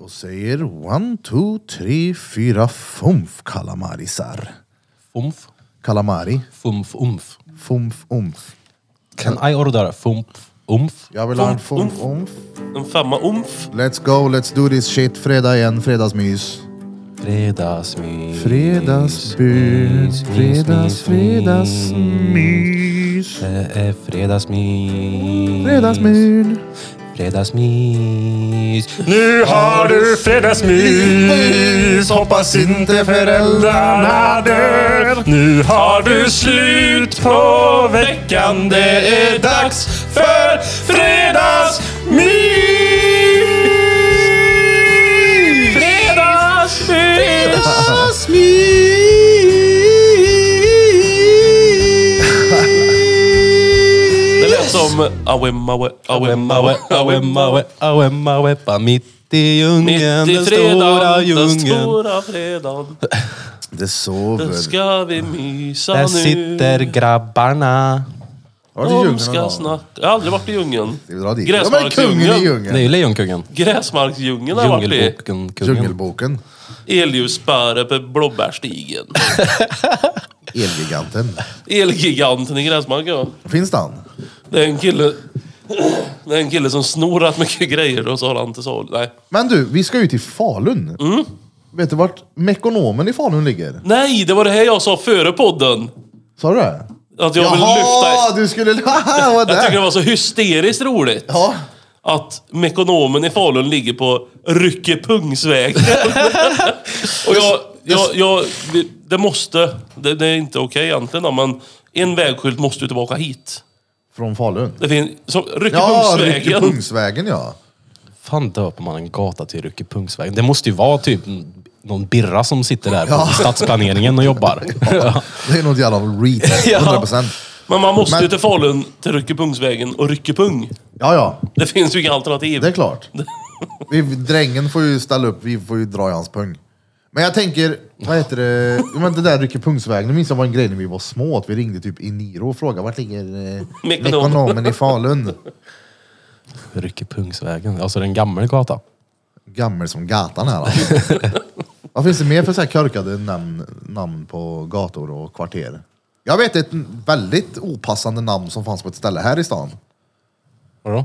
och säger one, two, tre, fyra, fumf kalamarisar. Fumf, Kalamari. fumf, umf. Fumf, umf. Can I order fumf, umf? Jag vill ha en Fumf, fumf, umf. En femma umf. Let's go, let's do this shit. Fredag igen, fredagsmys. Fredagsmys. Fredagsbud. mys, mys, Fredags, mys, mys. fredagsmys. Det är fredagsmys. Fredagsmys. Fredagsmys. Nu har du fredagsmys. Hoppas inte föräldrarna dör. Nu har du slut på veckan. Det är dags för fredagsmys. Fredagsmys. Det lät som awemawe, awemawe, awemawe. Awemawe, awemawe, pa mitt i djungeln, Mitt i den fredagen, stora den djungeln. stora fredagen. Det Då sover. ska vi mysa Där nu. sitter grabbarna. Har du De djungeln ska eller? snacka. Jag har aldrig varit i djungeln. Vi drar dit. Ja, men kungen i Gräsmarksdjungeln. Det är djungeln. ju Lejonkungen. Gräsmarksdjungeln har jag varit i. Djungelboken, kungen. Djungelboken. Elljusspöre på blåbärstigen. Elgiganten. Elgiganten i gräsmarken. va? Finns det han? Det är en kille... Det är en kille som snor rätt mycket grejer och så har han till salu. Nej. Men du, vi ska ju till Falun. Mm. Vet du vart Mekonomen i Falun ligger? Nej, det var det här jag sa före podden. Sa du det? Att jag vill lyfta... du skulle... Haha, vad Jag tycker det där? var så hysteriskt roligt. Ja, att Mekonomen i Falun ligger på Ryckepungsvägen. och jag, jag, jag, det måste, det, det är inte okej egentligen då, men en vägskylt måste ju tillbaka hit. från Falun. Det finns, som Ja, Ryckepungsvägen. Ryckepungsvägen ja. Fan döper man en gata till Ryckepungsvägen? Det måste ju vara typ någon birra som sitter där på Ja. stadsplaneringen och jobbar. Det är något jävla reet, Ja. 100%. men man måste ju Men- till Falun, till Ryckepungsvägen och Ryckepung. Ja, ja, Det finns ju inga alternativ. det är klart. Vi, drängen får ju ställa upp, vi får ju dra i hans pung. Men jag tänker, vad heter det? Jo, Men det där Ryckepungsvägen, det minns jag var en grej när vi var små, att vi ringde typ Eniro och frågade vart ligger eh, Mekonomen. Mekonomen i Falun? Ryckepungsvägen, alltså det är en gammal gata. Gammel som gatan här alltså. Vad finns det mer för så här korkade namn, namn på gator och kvarter? Jag vet ett väldigt opassande namn som fanns på ett ställe här i stan. Vadå?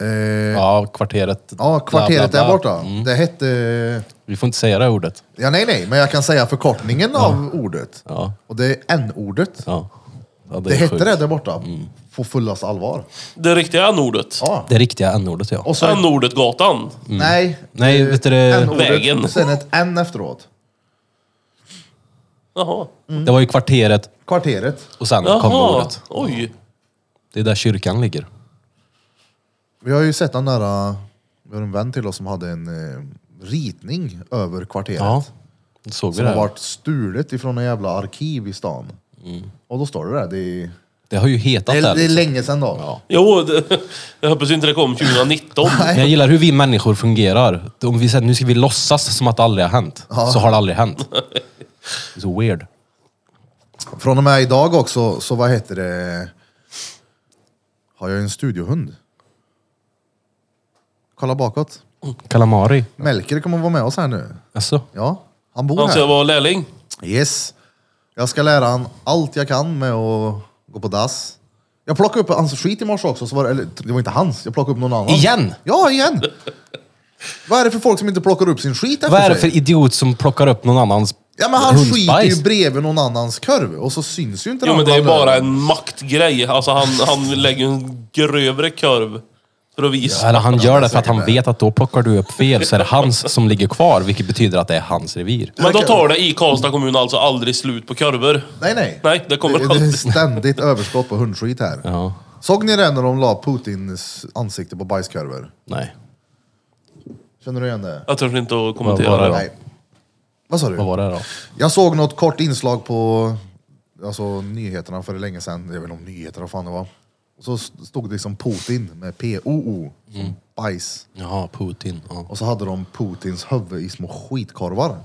Eh, Ja, kvarteret. ja, kvarteret bla, bla. där Mm. borta. Det hette... Vi får inte säga det här ordet. Ja, nej, nej, men jag kan säga förkortningen av ordet. Ja. Och det är n-ordet. Ja. Ja, Det, hette sjukt. Mm. det där borta. På fullaste allvar. Det riktiga n-ordet. Ja. Det riktiga n-ordet ja. Och så... n gatan Nej. Nej, eh, vet du det- N-ordet, Vägen. Sen ett n efteråt. Jaha. Det var ju kvarteret Kvarteret. och sen kom Jaha. ordet. Oj. Det är där kyrkan ligger. Vi har ju sett den där, eh, vi har en vän till oss som hade en eh, ritning över kvarteret. Ja, då såg vi Som det. har Här. varit stulet ifrån en jävla arkiv i stan. Och då står det där. Det är, Det har ju hetat det Mm. där. är, det är liksom. länge sedan då. Ja. Jo, det, jag hoppas inte det kom 2019. Men Jag gillar hur vi människor fungerar. Om vi säger nu ska vi låtsas som att det aldrig har hänt, så har det aldrig hänt. Det är så weird. Från och med idag också, så vad heter det? Har jag en studiohund? Kolla bakåt. Kalamari. Melker kommer vara med oss här nu. Alltså, Ja, han bor Han ska här. vara Alltså, lärling. Yes. Jag ska lära han allt jag kan med att gå på dass. Jag plockade upp hans skit i morse också, så var det, eller det var inte hans, jag plockade upp någon annan. Igen? Ja, igen! Vad är det för folk som inte plockar upp sin skit efter vad är det sig? för idiot som plockar upp någon annans Ja men han skiter hundbajs? ju bredvid någon annans korv och så syns ju inte Jo den men det är bland bara löven. en maktgrej. Alltså han, han lägger en grövre korv för att visa. Eller han gör det för att han Säkert det. vet att då plockar du upp fel så är det hans som ligger kvar, vilket betyder att det är hans revir. Men då tar det i Karlstad kommun alltså aldrig slut på korvar. Nej nej. Nej, det kommer det, det är aldrig. ständigt överskott på hundskit här. Ja, Såg ni det när de la Putins ansikte på bajskorvar? nej. Känner du igen det? Jag törs inte att Vad var kommentera det det. Nej. Vad sa du? Vad var det då? Jag såg något kort inslag på alltså, nyheterna för länge sedan. Jag vet inte om nyheter, vad fan det var. Och så st- stod det liksom Putin med P-O-O, Mm. som bajs. Jaha, Putin. Ja. Och så hade de Putins huvud i små skitkorvar.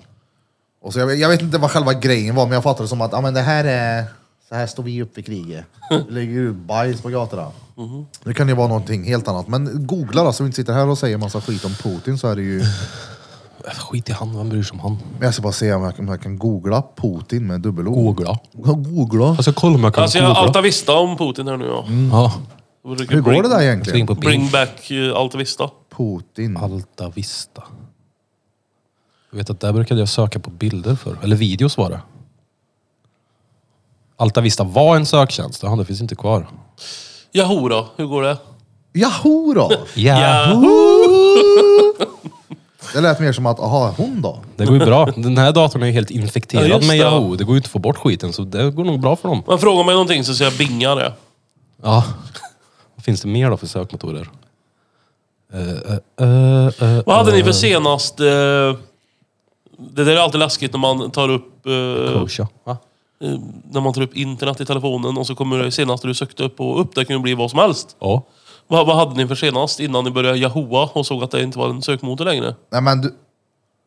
Och så jag, jag vet inte vad själva grejen var, men jag fattade det som att ah, men det här är Så här står vi upp i kriget. Vi lägger ut bajs på gatorna. Det kan ju vara någonting helt annat. Men googla då, så vi inte sitter här och säger massa skit om Putin. Så är det ju... Skit i han, vem bryr sig om han? Men jag ska bara se om jag kan, om jag kan googla Putin med dubbel-O. Googla. Googla. Alltså kolla om jag kan Alltså jag googla. Mm, altavista om Putin här nu ja. Ja. Jag försöker Mm. Hur går bring- det där Jag ska in egentligen? på Bing. Bring back eh, altavista. Putin. Alta Vista. Jag vet att där brukade jag söka på bilder för Eller videos var det. Alta Vista var en söktjänst. Ja, det finns inte kvar. Yahoo då, hur går det? Yahoo då! Yahoo! Det lät mer som att, aha, hon då? Det går ju bra. Den här datorn är ju helt infekterad Ja, just med det. Yahoo. Det går ju inte att få bort skiten, så det går nog bra för dem. Man frågar mig någonting så säger jag binga det. Ja. Vad finns det mer då för sökmotorer? Eh, eh, eh, eh, Vad hade eh, ni för senast... Eh, det där är alltid läskigt när man tar upp... Eh, Kocha. Va? eh, när man tar upp internet i telefonen och så kommer det senaste du sökte upp och upp. Det kan ju bli vad som helst. Ja. Vad, vad hade ni för senast innan ni började Yahooa och såg att det inte var en sökmotor längre? Nej men du...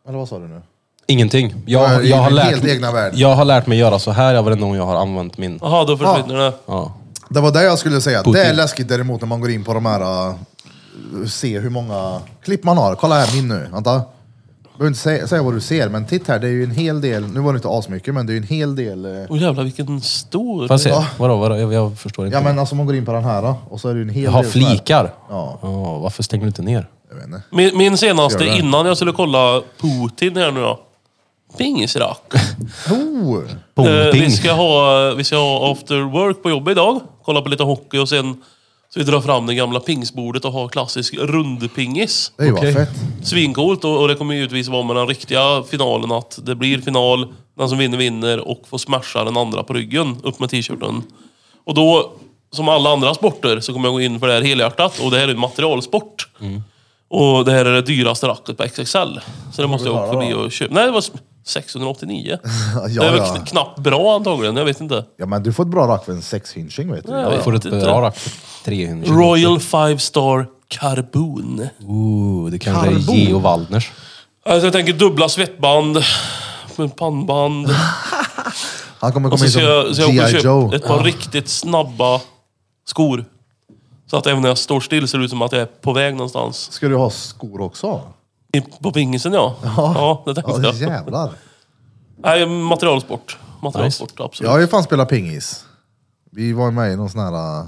Eller vad sa du nu? Ingenting. Ja, Jag, i jag, har min lärt, helt egna värld. jag har lärt mig göra så här jag varenda gång jag har använt min. Jaha, då försvinner det. Ja. Det var det jag skulle säga. Putin. Det är läskigt däremot när man går in på de här... uh, se hur många klipp man har. Kolla här min nu. Vänta. Jag behöver inte säga, säga vad du ser, men titta här. Det är ju en hel del... Nu var det inte asmycket, men det är ju en hel del... eh, Åh jävlar vilken stor... Får jag se? Ja. Vadå, vadå? Jag, jag förstår inte. Ja men alltså man går in på den här då, och så är det ju en hel jag har del... sån här- flikar. Ja. Ja, varför stänger du inte Eh, ner? Jag vet inte. Min, min senaste Gör det. innan jag skulle kolla Putin här nu då. Pingisrack. Oh! Eh, Bombing. vi, ska ha, vi ska ha after work på jobbet idag. Kolla på lite hockey och sen så vi drar fram det gamla pingsbordet och har klassisk rundpingis. Det är ju Okej. bara fett. Svincoolt och, och det kommer givetvis vara med den riktiga finalen att det blir final, den som vinner vinner och får smasha den andra på ryggen upp med t-shirten. Och då, som alla andra sporter, så kommer jag gå in för det här helhjärtat och det här är en materialsport. Mm. Och det här är det dyraste racket på XXL. Så det måste jag åka betalar förbi då? och köpa. Nej, det var s- 689. Ja, det är väl ja. kn- knappt bra antagligen, jag vet inte. Ja men du får ett bra rack för en sexhynching vet du. Ja. Ja, vi får ett inte. bra rack för 300. Royal Five Star Carbon. Ooh, det kanske Karbo. är Geo Waldners. Alltså jag tänker dubbla svettband, med pannband. Han kommer komma Och så in ska jag, så som jag åker och G.I. köper Joe. ett par riktigt snabba skor. Så att även när jag står still ser det ut som att jag är på väg någonstans. Ska du ha skor också? I- På pingisen ja. Ja, det tänkte Ja, jag. jävlar. Nej, materialsport. Materialsport, Jag absolut. har ju fan spelat pingis. Vi var med i någon sån här... äh,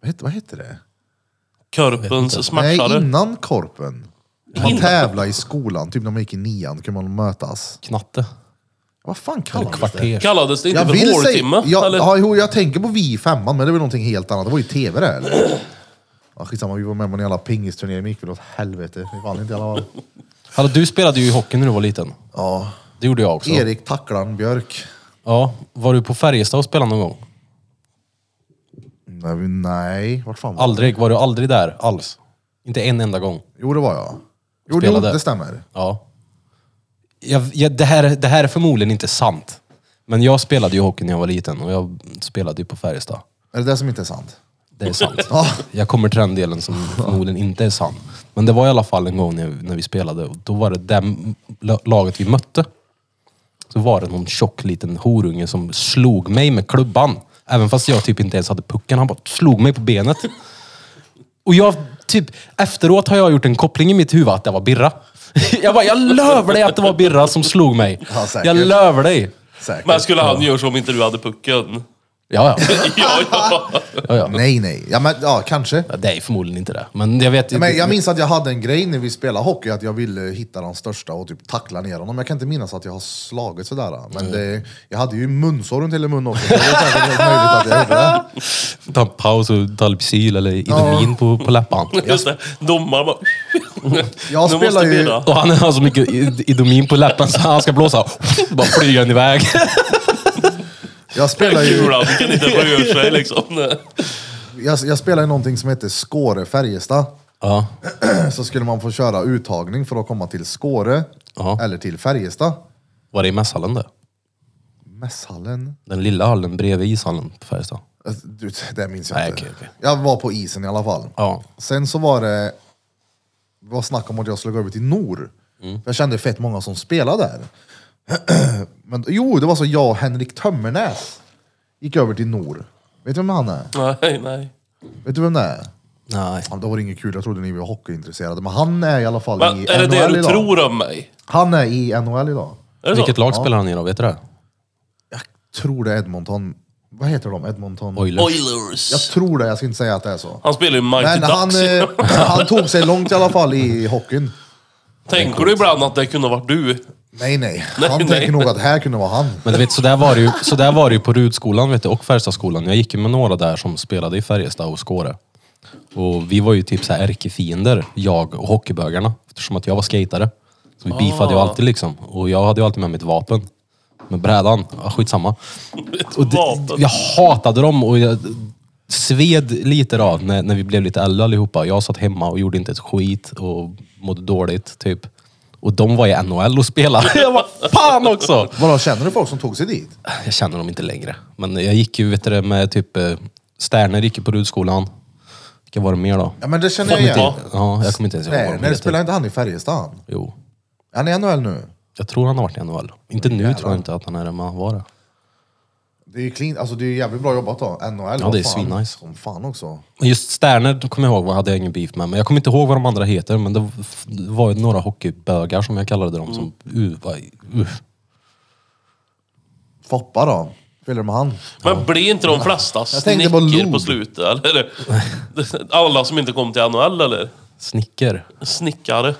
Vad heter, vad heter det? Körpens Nej, smärtare. innan korpen. Man tävlade i skolan, typ när man gick i nian kunde man mötas. Knatte. Vad fan kallades det? Kvarter. Kallades det inte Jag för vill håltimme? säga... Jag, eller? ja, jo, jag tänker på vi i femman, men det var någonting helt annat. Det var ju tv det här, eller? Ja, skitsamma, vi var med på en jävla pingisturnering, gick väl åt helvete. Vi vann inte i alla fall. Hallå, du spelade ju i hockey när du var liten. Ja. Det gjorde jag också. Erik Tacklan Björk. Ja, var du på Färjestad och spelade någon gång? Nej, vi- nej, vart fan var jag? Aldrig. Var du aldrig där alls? Inte en enda gång? Jo, det var jag. Jo, jo, Spelade. det stämmer. Ja. Jag, jag, det, här, det här är förmodligen inte sant. Men jag spelade ju hockey när jag var liten och jag spelade ju på Färjestad. Är det det som inte är sant? Det är sant. Ja. Jag kommer till den delen som förmodligen inte är sann. Men det var i alla fall en gång när, när vi spelade och då var det det m- la- laget vi mötte. Så var det någon tjock liten horunge som slog mig med klubban. Även fast jag typ inte ens hade pucken. Han bara slog mig på benet. Och jag, typ, efteråt har jag gjort en koppling i mitt huvud att det var Birra. Jag bara, jag löver dig att det var Birra som slog mig. Ja, säkert. jag löver dig. Säkert. Men skulle han göra så om inte du hade pucken? Ja, ja. ja, ja. ja, ja. Nej, nej. Ja, men, ja kanske. Ja, Det är förmodligen inte det. Men jag vet Ja, Men jag minns att jag hade en grej när vi spelade hockey, att jag ville hitta den största och typ tackla ner honom. Jag kan inte minnas att jag har slagit sådär. Men det, jag hade ju munsår runt hela munnen också. så Det är säkert helt möjligt att jag gjorde det. Ta en paus och ta Lypsyl eller Idomin på, på läppan. Just det. Domaren bara... Jag Nu måste spelar ju- Birra. Och han har så mycket i- Idomin på läppen så han ska blåsa. Bara flyger han iväg. Jag spelar ju Kulan kan inte röra sig liksom. jag, jag spelar i någonting som heter Skåre Färjestad. Ja. Så skulle man få köra uttagning för att komma till Skåre Ja. eller till Färjestad. Var det i mässhallen det? Mässhallen? Den lilla hallen bredvid ishallen på Färjestad. Alltså, du, Det minns jag Nej, inte. okej, okej. Jag var på isen i alla fall. Ja. Sen så var det det var snack om att jag skulle gå över till Nor. Mm. För jag kände fett många som spelade där. Men, jo, det var så jag och Henrik Tömmernäs. gick över till Nor. Vet du vem han är? Nej, nej. Vet du vem det är? Nej. Ja, det var inget kul, jag trodde ni var hockeyintresserade. Men han är i alla fall Men, i är det NHL det du idag. tror om mig? Han är i NHL idag. Är det Vilket så? lag spelar han i då? Vet du det? Jag tror det är Edmonton. Vad heter de? Edmonton? Oilers. Oilers. Jag tror det, jag ska inte säga att det är så. Han spelar ju Mighty Men han, Ducks. eh, han tog sig långt i alla fall i hockeyn. Tänker du ibland att det kunde ha varit du? Nej, nej. Nej, Han nej. tänker nog att här kunde vara han. Men du vet, så där var det ju, så där var det ju på Rudskolan vet du, och Färjestadskolan. Jag gick ju med några där som spelade i Färjestad och Skåre. Och vi var ju typ så här ärkefiender, jag och hockeybögarna. Eftersom att jag var skatare. Så vi beefade ju alltid liksom. Och jag hade ju alltid med mig ett vapen. Med brädan. Ja, skitsamma. Och det, Vapen. jag hatade dem och jag sved lite då när, när vi blev lite äldre allihopa. Jag satt hemma och gjorde inte ett skit och mådde dåligt typ. Och de var i NHL och spelade. Jag var fan också! Vadå, känner du folk som tog sig dit? jag känner dem inte längre. Men jag gick ju vet du, det, med typ eh, Sterner gick ju på Rudskolan. Vilka var det mer då? Ja, men det känner jag igen. Ja. Ja, jag kommer inte ens ihåg Nej, vad de när heter. spelar inte han i Färjestad? Jo. Är han i NHL nu? Jag tror han har varit i NHL. Inte nu tror jag inte att han är det, men han var det. Det är ju clean, alltså det är ju jävligt bra jobbat då. NHL, Ja, det är vad fan. svinnice. Som fan också. Men Just Sterner då kommer jag ihåg, vad hade jag ingen beef med. Men jag kommer inte ihåg vad de andra heter, men det f- var ju några hockeybögar som jag kallade dem som... Uh, vad, uh. Foppa då? Spelar du med han? Men blir inte de flesta Jag tänkte på snicker Lod. på slutet? Eller? Alla som inte kom till NHL eller? Snicker. Snickare.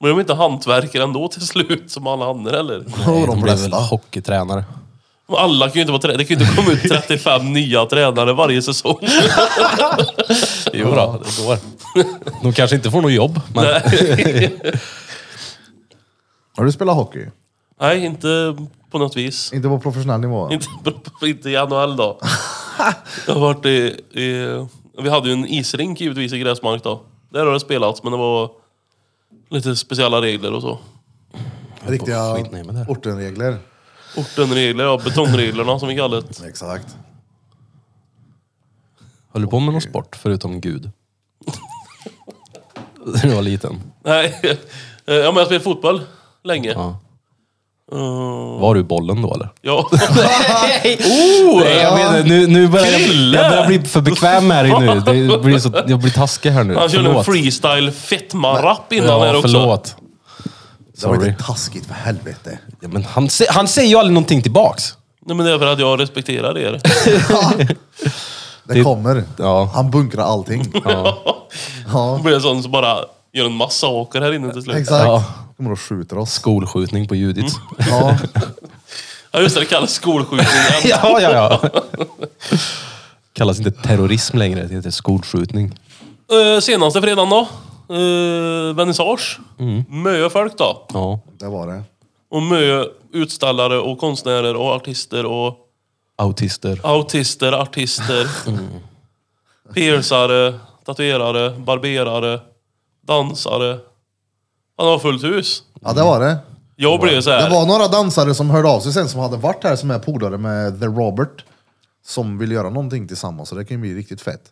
Men de är inte hantverkare ändå till slut som alla andra eller? Och de de blev väl flesta. hockeytränare. Alla kan ju inte vara tränare. Det kan ju inte komma ut 35 nya tränare varje säsong. Jo då, det går. De kanske inte får något jobb, men... Har du spelat hockey? Nej, inte på något vis. Inte på professionell nivå? Inte, inte i NHL då. Jag har varit i, i... Vi hade ju en isrink givetvis i gräsmark då. Där har det spelats, men det var lite speciella regler och så. Riktiga Skit, nej, men där. ortenregler. Ortenregler, ja, betongreglerna som vi kallar det. Exakt. Höll du på med någon sport förutom Gud? När du var liten? Nej, eh, ja men jag spelade fotboll länge. Ja. Ja. Var du i bollen då eller? ja. Nej, jag vet inte. Nu, nu börjar jag, Krille! jag börjar bli för bekväm med dig nu. Det blir så, jag blir taskig här nu. Han körde en Förlåt. freestyle fetma-rap innan här Ja, också. förlåt. Det var Sorry. inte taskigt för helvete. Ja, men han, sä- han säger ju aldrig någonting tillbaks. Nej, men det är för att jag respekterar er. Det, kommer. ja. Han bunkrar allting. Jag blir en sån som bara gör en massaker här inne till slut. Exakt. Ja. Kommer och skjuter oss. Skolskjutning på Judit. Ja. Ja just det, det kallas skolskjutning. ja, ja, ja. Kallas inte terrorism längre, det heter skolskjutning. Eh, senaste fredagen då. Uh, vernissage. Mycket folk då. Ja. Det var det. Och mycket utställare och konstnärer och artister och Autister. autister, artister, piercare, tatuerare, barberare, dansare. Han har fullt hus. Ja, det var det. Jag blev så Det här. var några dansare som hörde av sig sen som hade varit här som är polare med The Robert. Som vill göra någonting tillsammans så det kan ju bli riktigt fett.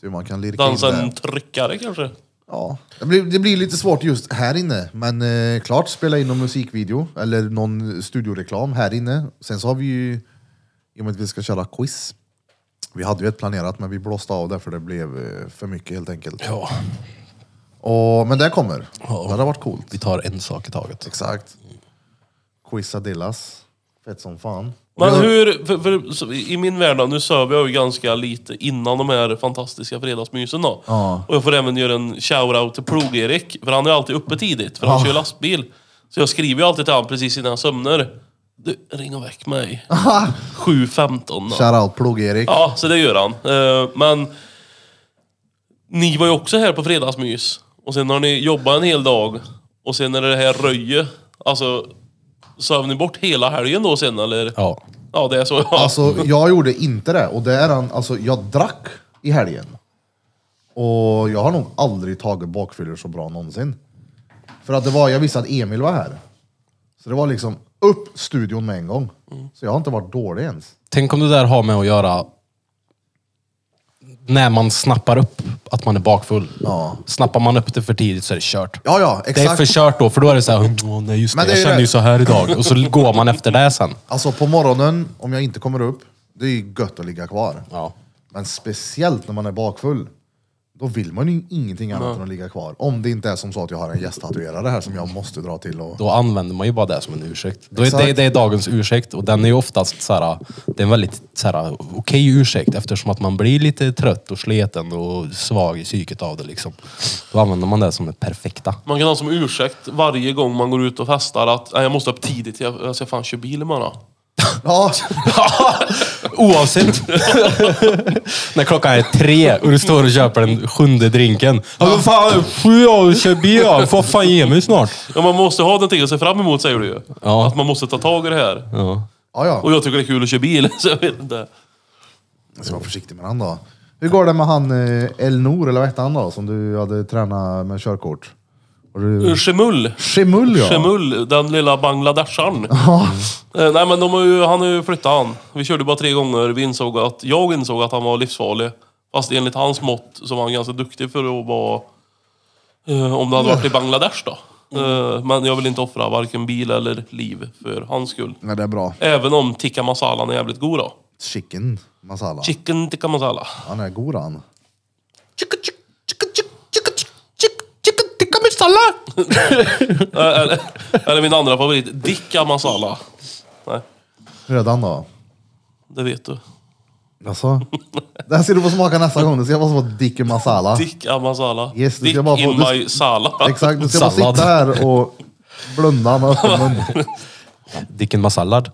Så man kan lirka in Dansa det. en tryckare kanske. Ja, det blir, det blir lite svårt just här inne, men eh, klart spela in någon musikvideo eller någon studioreklam här inne. Sen så har vi ju, i och med att vi ska köra quiz, vi hade ju ett planerat men vi blåste av det för det blev eh, för mycket helt enkelt. Ja, Och, men det kommer, det hade varit coolt. vi tar en sak i taget. Exakt. Quizadillas, fett som fan. Men Vi har- hur, för, för, så, i min värld då, nu söver jag ju ganska lite innan de här fantastiska fredagsmysen då. Ja. Och jag får även göra en shout-out till Plog-Erik, för han är alltid uppe tidigt, för han kör lastbil. Så jag skriver ju alltid till honom precis innan jag somnar. Du, ring och väck mig. 7.15 då. Shoutout Plog-Erik. Ja, så det gör han. Eh, Men ni var ju också här på fredagsmys. Och sen har ni jobbat en hel dag. Och sen är det det här röje. Alltså, söv ni bort hela helgen då sen eller? Ja. Ja, det är så. Ja. Alltså jag gjorde inte det och det är han, alltså jag drack i helgen. Och jag har nog aldrig tagit bakfyllor så bra någonsin. För att det var, jag visste att Emil var här. Så det var liksom upp studion med en gång. Så jag har inte varit dålig ens. Tänk om det där har med att göra när man snappar upp att man är bakfull. Ja. Snappar man upp det för tidigt så är det kört. Ja, ja, Det är exakt. för kört då, för då är det så här, "Åh, nej just det, Men det är jag ju kände det." ju så här idag. Och så går man efter det sen. Alltså på morgonen, om jag inte kommer upp, Det är ju gött att ligga kvar. Ja. Men speciellt när man är bakfull. Då vill man ju ingenting annat än att ligga kvar. Om det inte är som så att jag har en gästtatuerare här som jag måste dra till och... Då använder man ju bara det som en ursäkt. Då är Exakt. det, det är dagens ursäkt och den är ju oftast så här, det är en väldigt så här, okej ursäkt eftersom att man blir lite trött och sleten och svag i psyket av det liksom. Då använder man det som det perfekta. Man kan ha som ursäkt varje gång man går ut och festar att "Nej, jag måste upp tidigt, jag, jag ska fan köra bil imorgon. Ja, Oavsett. När klockan är tre och du står och köper den sjunde drinken. Ja, vad fan, sju av kör bil av. Får fan ge mig snart. Ja, man måste ha någonting att se fram emot säger du ju. Ja. Att man måste ta tag i det här. Ja. ja. ja. Och jag tycker det är kul att köra bil, så jag vet inte. Jag ska vara försiktig med han då. Hur går det med han eh, Elnor, eller vad hette han då, som du hade tränat med körkort? Och du... Shemull. Shemul ja! Shemul, den lilla bangladeshan. Eh, Nej men de har ju, han har ju flyttat han. Vi körde bara tre gånger. Vi insåg att, jag insåg att han var livsfarlig. Fast enligt hans mått så var han ganska duktig för att vara... eh, om det hade varit i Bangladesh då. Mm. Eh, men jag vill inte offra varken bil eller liv för hans skull. Nej, det är bra. Även om tikka masalan är jävligt god då. Chicken masala. Chicken tikka masala. Han är god han. Eh, eller, eller min andra favorit, dikka masala. Nej, Hur är den då? det vet du. Jaså? Den ser du få smaka nästa gång. Du ska bara få dicken masala. Tikka masala. Yes, du ska Dick bara få- in du- my sala. Exakt, du ska bara Sallad. sitta här och blunda med öppen mun. Dicken masallad.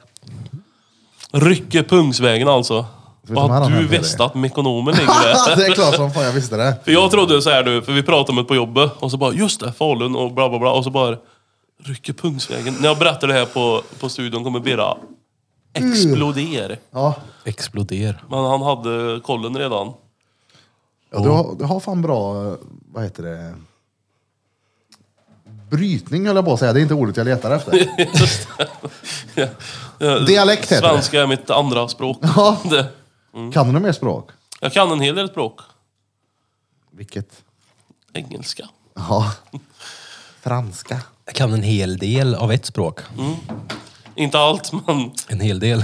Rycker Pungsvägen alltså. vi ta Vad med har den här du till dig? västat Mekonomen ligger där? det är klart som fan jag visste det. För jag trodde så här nu, för vi pratade om det på jobbet och så bara just det, Falun och bla bla bla och så bara rycker Pungsvägen. När jag berättar det här på, på studion kommer Birra exploder. Ja, Exploder. Men han hade kollen redan. ja du, har, du har fan bra, eh, vad heter det? Brytning höll jag på att säga, det är inte ordet jag letar efter. Eh, Dialekt heter det. Svenska är mitt andra språk. Ja. Det- Mm. Kan du något mer språk? Jag kan en hel del språk. Vilket? Engelska. Ja. Franska. Jag kan en hel del av ett språk. Inte allt, men En hel del.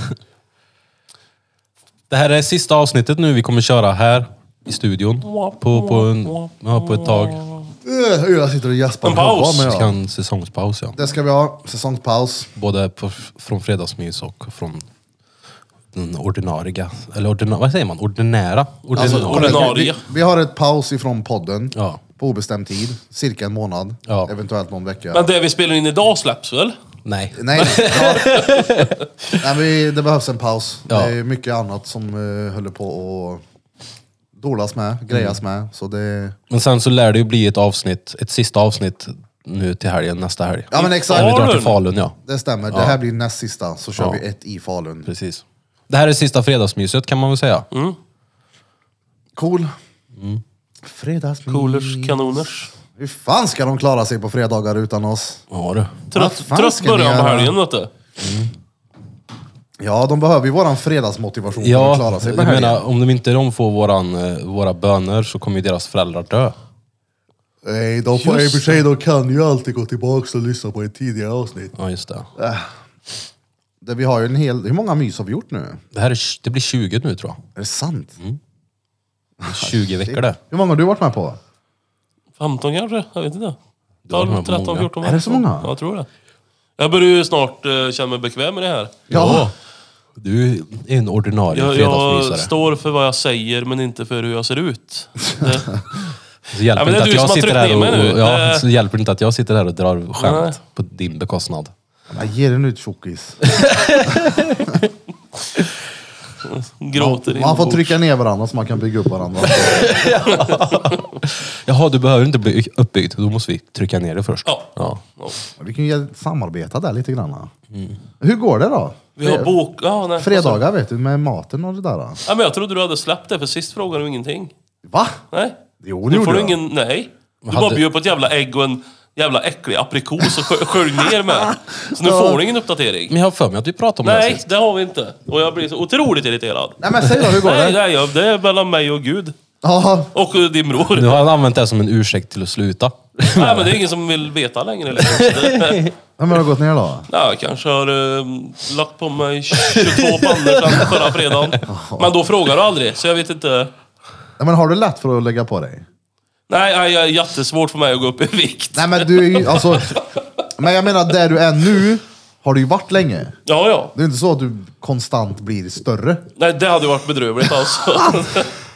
Det här är sista avsnittet nu vi kommer köra här i studion. På, på, en, ja, på ett tag. Eh, Jag sitter och gäspar. En paus. Vad var Vi med ska ha jag? en säsongspaus ja. Det ska vi ha, säsongspaus. Både på, från fredagsmys och från den ordinarie, eller ordina, vad säger man? Ordinära? Alltså, Ordinarie. kolla, ordinarie. Vi, vi har ett paus ifrån podden Ja. på obestämd tid, cirka en månad, Ja. eventuellt någon vecka. Men det vi spelar in idag släpps väl? Nej. Nej, nej, ja. nej vi, det behövs en paus. Ja. Det är mycket annat som uh, håller på att dolas med, grejas Mm. med. Så det... Men sen så lär det ju bli ett avsnitt, ett sista avsnitt nu till helgen, nästa helg. Ja men exakt, När vi drar till Falun. Falun ja. det stämmer. Det här blir näst sista, så kör Ja. vi ett i Falun. Precis. Det här är sista fredagsmyset kan man väl säga. Mm. Cool. Mm. Fredagsmys. Coolers, kanoners. Hur fan ska de klara sig på fredagar utan oss? Ja du. Vad Trött, fan trött ska ni början på göra? helgen vet du. Ja, de behöver ju våran fredagsmotivation för att Ja, klara sig jag på helgen. menar om de inte de får våran, eh, våra böner så kommer ju deras föräldrar dö. Nej, de får, i och för sig, de kan ju alltid gå tillbaka och lyssna på ett tidigare avsnitt. Ja just det. Där vi har ju en hel... Hur många mys har vi gjort nu? Är Det, här är, tj- det blir 20 nu tror jag. det sant? Mm. 20 veckor det. Hur många har du varit med på? 15 kanske? Jag vet inte. har de här 12, 13, många. 14. Är det så många? Jag tror det. Jag börjar ju snart eh, känna mig bekväm med det här. Ja. Du är en ordinarie Jag, jag fredagsmysare. står för vad jag säger men inte för hur jag ser ut. Det, Så hjälper Ja, men inte det är att du jag som har sitter tryckt här ner mig och, nu. och, ja, Det- så hjälper inte att jag sitter här och drar skämt Nej. på din bekostnad. Jag ger den ut tjockis. gråter Man får inombords. trycka ner varandra så man kan bygga upp varandra. Jaha, du behöver inte bli uppbyggd. Då måste vi trycka ner det först. Ja. ja. Ja. Vi kan ju samarbeta där lite grann. Mm. Hur går det då? Vi har bok... Ja, nej, Fredagar vet du, med maten och det där. då. Ja, men jag trodde du hade släppt det för sist frågade du ingenting. Va? Nej. Jo, det Nu får gjorde du jag. ingen... Nej. Du hade- bara bjöd på ett jävla ägg och en jävla äcklig aprikos och skö- skölj ner med. Så nu får du ingen uppdatering. Men jag har för mig att vi pratade Mm. om det här Nej, sist. det har vi inte. Och jag blir så otroligt irriterad. Nej men säg då, hur går Nej, det? nej, jag- det är mellan mig och Gud. Ja, Och eh, din bror. Nu har han använt det som en ursäkt till att sluta. Nej, men det är ingen som vill veta längre. Liksom. Så det- Vem har det gått ner då? Nej, jag kanske har eh, lagt på mig 22 pannor sedan förra fredagen. Men då frågar du aldrig, så jag vet inte. Nej, men har du lätt för att lägga på dig? Nej, nej, jag- jättesvårt för mig att gå upp i vikt. Nej men du är ju, alltså. Men jag menar, där du är nu har du ju varit länge. Ja, ja. Det är inte så att du konstant blir större. Nej, det hade ju varit bedrövligt alltså.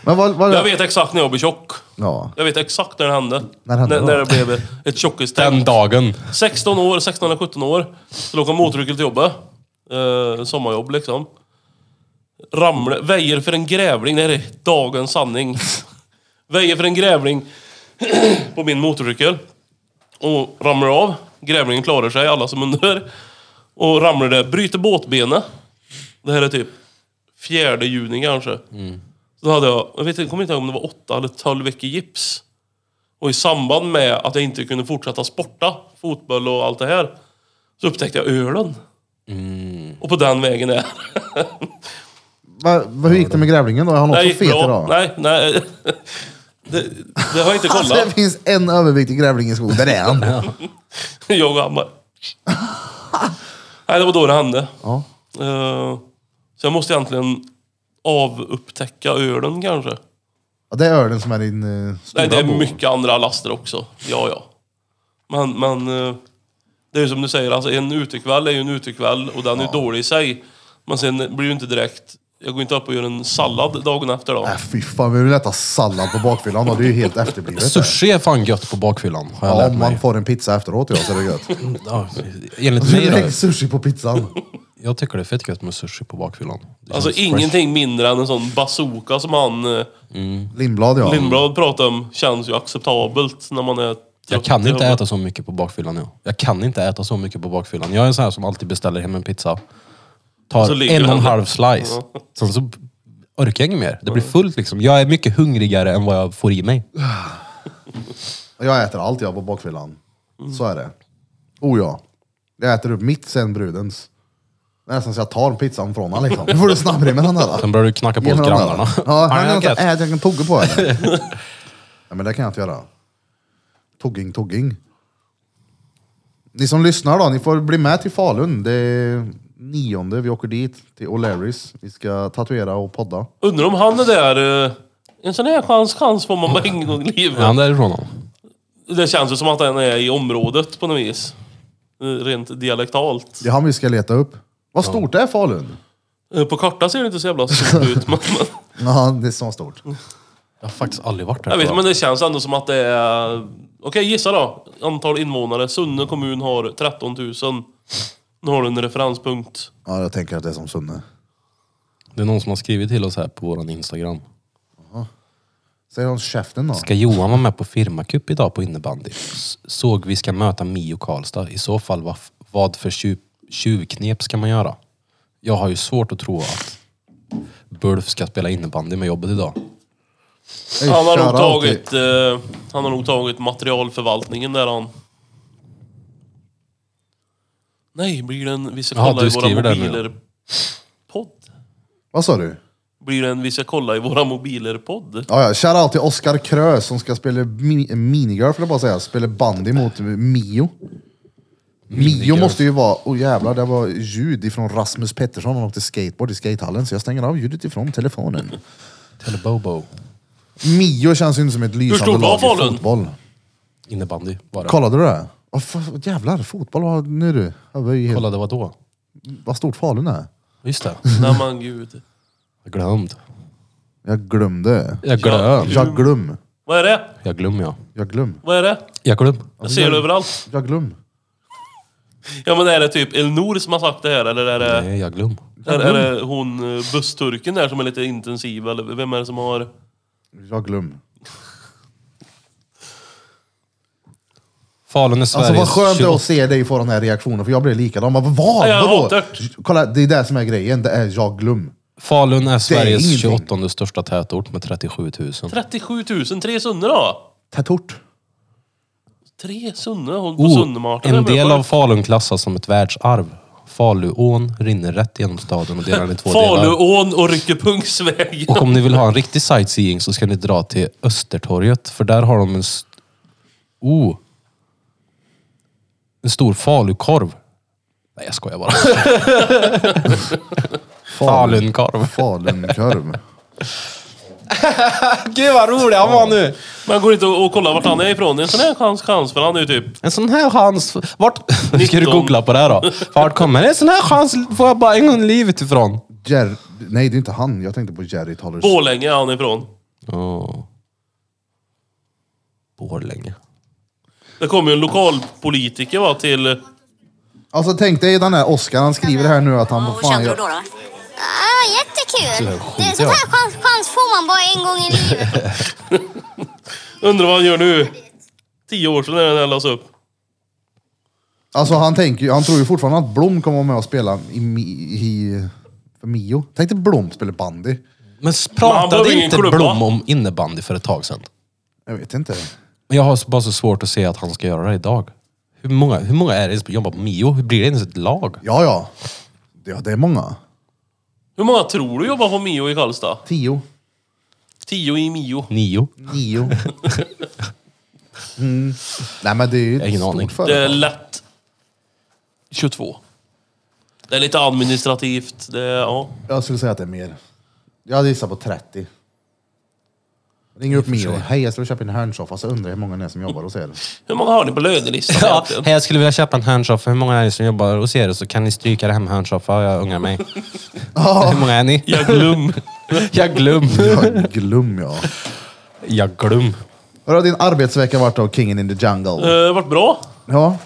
Men vad, vad, Jag vet exakt när jag blev tjock. Ja. Jag vet exakt när det hände. När det hände när, då? när det blev ett tjockistänk. Den dagen. 16 år, 16 eller 17 år. Skulle åka motorcykel till jobbet. Eh, sommarjobb liksom. Ramla, väjer för en grävling. Det här är dagens sanning. väjer för en grävling på min motorcykel. Och ramlar av. Grävlingen klarar sig, alla som undrar. Och ramlar där, bryter båtbenet. Det här är typ fjärde juni kanske. Så hade jag, jag vet, inte- kommer inte ihåg om det var åtta eller tolv veckor gips. Och i samband med att jag inte kunde fortsätta sporta, fotboll och allt det här, så upptäckte jag ölen. Mm. Och på den vägen är vad, vad, hur gick det med grävlingen då? Är han det. också gick fet bra. idag? Nej, nej. Det, det har jag inte Alltså det kollat. finns en överviktig grävling i skogen. Där är han. Jag och han bara... Nej, det var då det hände. Ja. Eh, Så jag måste egentligen avupptäcka ölen kanske. Ja, det är ölen som är din eh, stora Nej, det är bov. mycket andra laster också. Ja, ja. Men, men eh, det är ju som du säger, alltså en utekväll är ju en utekväll och den är dålig i sig. Men sen blir det ju inte direkt... Jag går inte upp och gör en sallad dagen efter då. Äh, fy fan, vi vill äta sallad på bakfyllan då. Det är ju helt efterblivet. Sushi är fan gött på bakfyllan, har jag Ja, lärt om man mig. får en pizza efteråt ja, så är det gött. Ja, enligt mig då. Lägg sushi på pizzan. Jag tycker det är fett gött med sushi på bakfyllan. Det Alltså känns ingenting mindre än en sån bazooka som han eh, Lindblad ja. Lindblad pratade om känns ju acceptabelt när man är Jag trött kan i inte huvudet. äta så mycket på bakfyllan nu. Jag kan inte äta så mycket på bakfyllan. Jag är en sån här som alltid beställer hem en pizza. Så Tar ligger en och en den där. halv slice. Sen så orkar jag inget mer. Det blir fullt liksom. Jag är mycket hungrigare än vad jag får i mig. Jag äter allt jag på bakfyllan. Så är det. Oh ja. Jag äter upp mitt sen brudens. Det är nästan så jag tar pizzan från honom liksom. Nu får du snabbare med den där. då. Sen börjar du knacka på Ge hos mig den där. grannarna. Ja, han Har är jag inte gött? ätit, Äh, jag kan tugga på henne. Nej men det kan jag inte göra. Tugging, tugging. Ni som lyssnar då, ni får bli med till Falun. Det är nionde, vi åker dit till O'Larrys. Vi ska tatuera och podda. Undrar om han är där... eh, En sån här chans, chans får man bara en gång i livet. Är han därifrån då? Det känns ju som att han är i området på något vis. Eh, Rent dialektalt. Det är han vi ska leta upp. Vad stort är Falun? Eh, På kartan ser det inte så jävla stort ut. Men, men, Ja, det är så stort. Jag har faktiskt aldrig varit där. jag vet, inte, tror men det känns ändå som att det är... eh, Okej, gissa då. Antal invånare. Sunne kommun har 13 000. Nu har du en referenspunkt. Ja, jag tänker att det är som Sunne. Det är någon som har skrivit till oss här på våran Instagram. Säg om käften då. Ska Johan vara med på firmacup idag på innebandy? S- Såg vi ska möta Mio Karlstad. I så fall, vad, f- vad för tjuv, tjuvknep ska man göra? Jag har ju svårt att tro att Bulf ska spela innebandy med jobbet idag. Hey, Han har nog shoutout tagit, till- eh, han har nog tagit materialförvaltningen där han... Nej, blir det en... Vi ska Jaha, kolla i du våra skriver där nu. mobiler... Podd? Vad sa du? Blir det en Vi ska kolla i våra mobiler-podd? Ja, ja. Shoutout till Oskar Krö som ska spela mi- minigirl, får jag bara säga. Spela bandy mot Mio. Mio måste ju vara... Oh jävlar, det var ljud ifrån Rasmus Pettersson. Han åkte skateboard i skatehallen, så jag stänger av ljudet ifrån telefonen. Telebobo. Mio känns ju inte som ett lysande stort var lag i Falun? fotboll. Innebandy var det. Kollade du det? Oh, fan, jävlar, fotboll var... Nu du. Jag var ju helt- Kollade vad då? Vad stort Falun är. Just det. Nej men gud. Jag glömde. Jag glömde. Jag glöm. Jag glöm. Vad är det? Jag glöm ja. Jag glöm. Vad är det? Jag glöm. Jag ser det överallt. Jag glöm. Ja men är det typ Elnor som har sagt det här eller är det, Nej, Mm. jag glöm. är, är det hon eh, bussturken där som är lite intensiv eller vem är det som har... Jag glöm. Falun är Sveriges... Alltså vad skönt det är 28 att se dig få den här reaktionen, för jag blir likadan. Man bara, vad? Ja, jag Vadå? hatar Kolla, det är det som är grejen. Det är jag glöm. Falun är Sveriges ingenting. 28 största tätort med 37 000. 37 000, tre sunnor då? Tätort. Tre sunnor? Hon på Oh, Sunnemarten. en del av Falun klassas som ett världsarv. Faluån rinner rätt genom staden och delar den i två delar. Faluån och Ryckepungsvägen. Och om ni vill ha en riktig sightseeing så ska ni dra till Östertorget, för där har de en... s- Oh, en stor falukorv. Nej, jag skojar bara. Falunkorv. Falunkorv. Gud vad rolig han var nu! Man går inte och och kollar vart han är ifrån. Det är en sån här chans, chans för han är ju typ... En sån här chans... Vart... Ska du 19. googla på det här då? Vart kommer en sån här chans får jag bara en gång i livet ifrån? Jer- Nej, det är inte han. Jag tänkte på Jerry Tollers. Borlänge är han ifrån. Oh. Borlänge. Det kommer ju en lokalpolitiker va, till... Alltså tänk dig den här Oscar, han skriver här nu att han... Och Fan, kände du jag... då? då? Ah, jättekul! Så här Det är skiter sånt här jag. chans, chans får man bara en gång i livet. Undrar vad han gör nu. Tio år sedan när den här lades upp. Alltså han tänker ju- han tror ju fortfarande att Blom kommer vara med och spela i, Mi- i för Mio. Tänk dig Blom spelar bandy. Men han behöver pratade ingen inte klubba. Blom om innebandy för ett tag sedan? Jag vet inte. Men jag har bara så svårt att se att han ska göra det idag. Hur många, hur många är det som jobbar på Mio? Hur blir det ens ett lag? Ja, ja. Ja, det är många. Hur många tror du jobbar på Mio i Karlstad? Tio. Tio i Mio. Nio? Nio. mm. Nej men det är ju ett har ingen stort aning. Det är företag. lätt 22. Det är lite administrativt. Det är, ja. Jag skulle säga att det är mer. Jag hade gissat på 30. Ring upp Mio. Hej, jag skulle köpa en hörnsoffa. Så undrar jag hur många ni är som jobbar hos er. Hur många har ni på lönelistan Ja, egentligen? hej, jag skulle vilja köpa en hörnsoffa. Hur många är ni som jobbar hos er? Så kan ni stryka det här med hörnsoffa? Jag ångrar mig. Hur många är ni? Jag glöm. Eh, Jag glöm. Jag glöm jag. Jag glöm. Hur har din arbetsvecka varit då, Kingen in the Jungle? Eh, vart bra. Ja,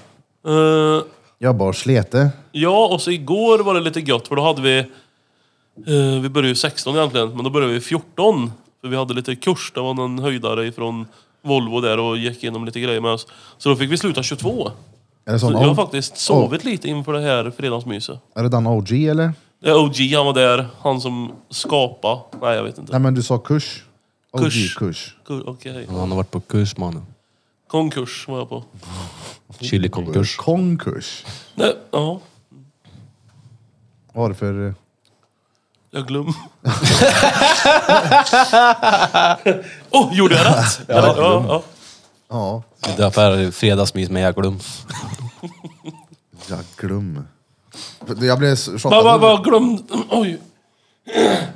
Eh, jag bara slete. ja, och så igår var det lite gött för då hade vi... eh, vi började ju 16 egentligen, men då började vi 14. För vi hade lite kurs. Det var någon höjdare ifrån Volvo där och gick igenom lite grejer med oss. Så då fick vi sluta 22. Är det, Så sån Alltså, jag har O- faktiskt sovit lite inför det här fredagsmyset. är det den OG eller? Det är OG, han var där. Han som skapa. Nej, jag vet inte. Nej men du sa kurs. Kurs. OG-kurs. Kur- Okej. Han har varit på kurs mannen. Konkurs var jag på. Chilikonkurs. Konkurs. Nej, ja. Vad var det för... eh, Jag glöm. oh, gjorde jag rätt? ja, ja, ja. Ja, Därför är det fredagsmys med jag glöm. jag glöm. Jag blev så- chockad. Vad vad- vad glömde... Oj.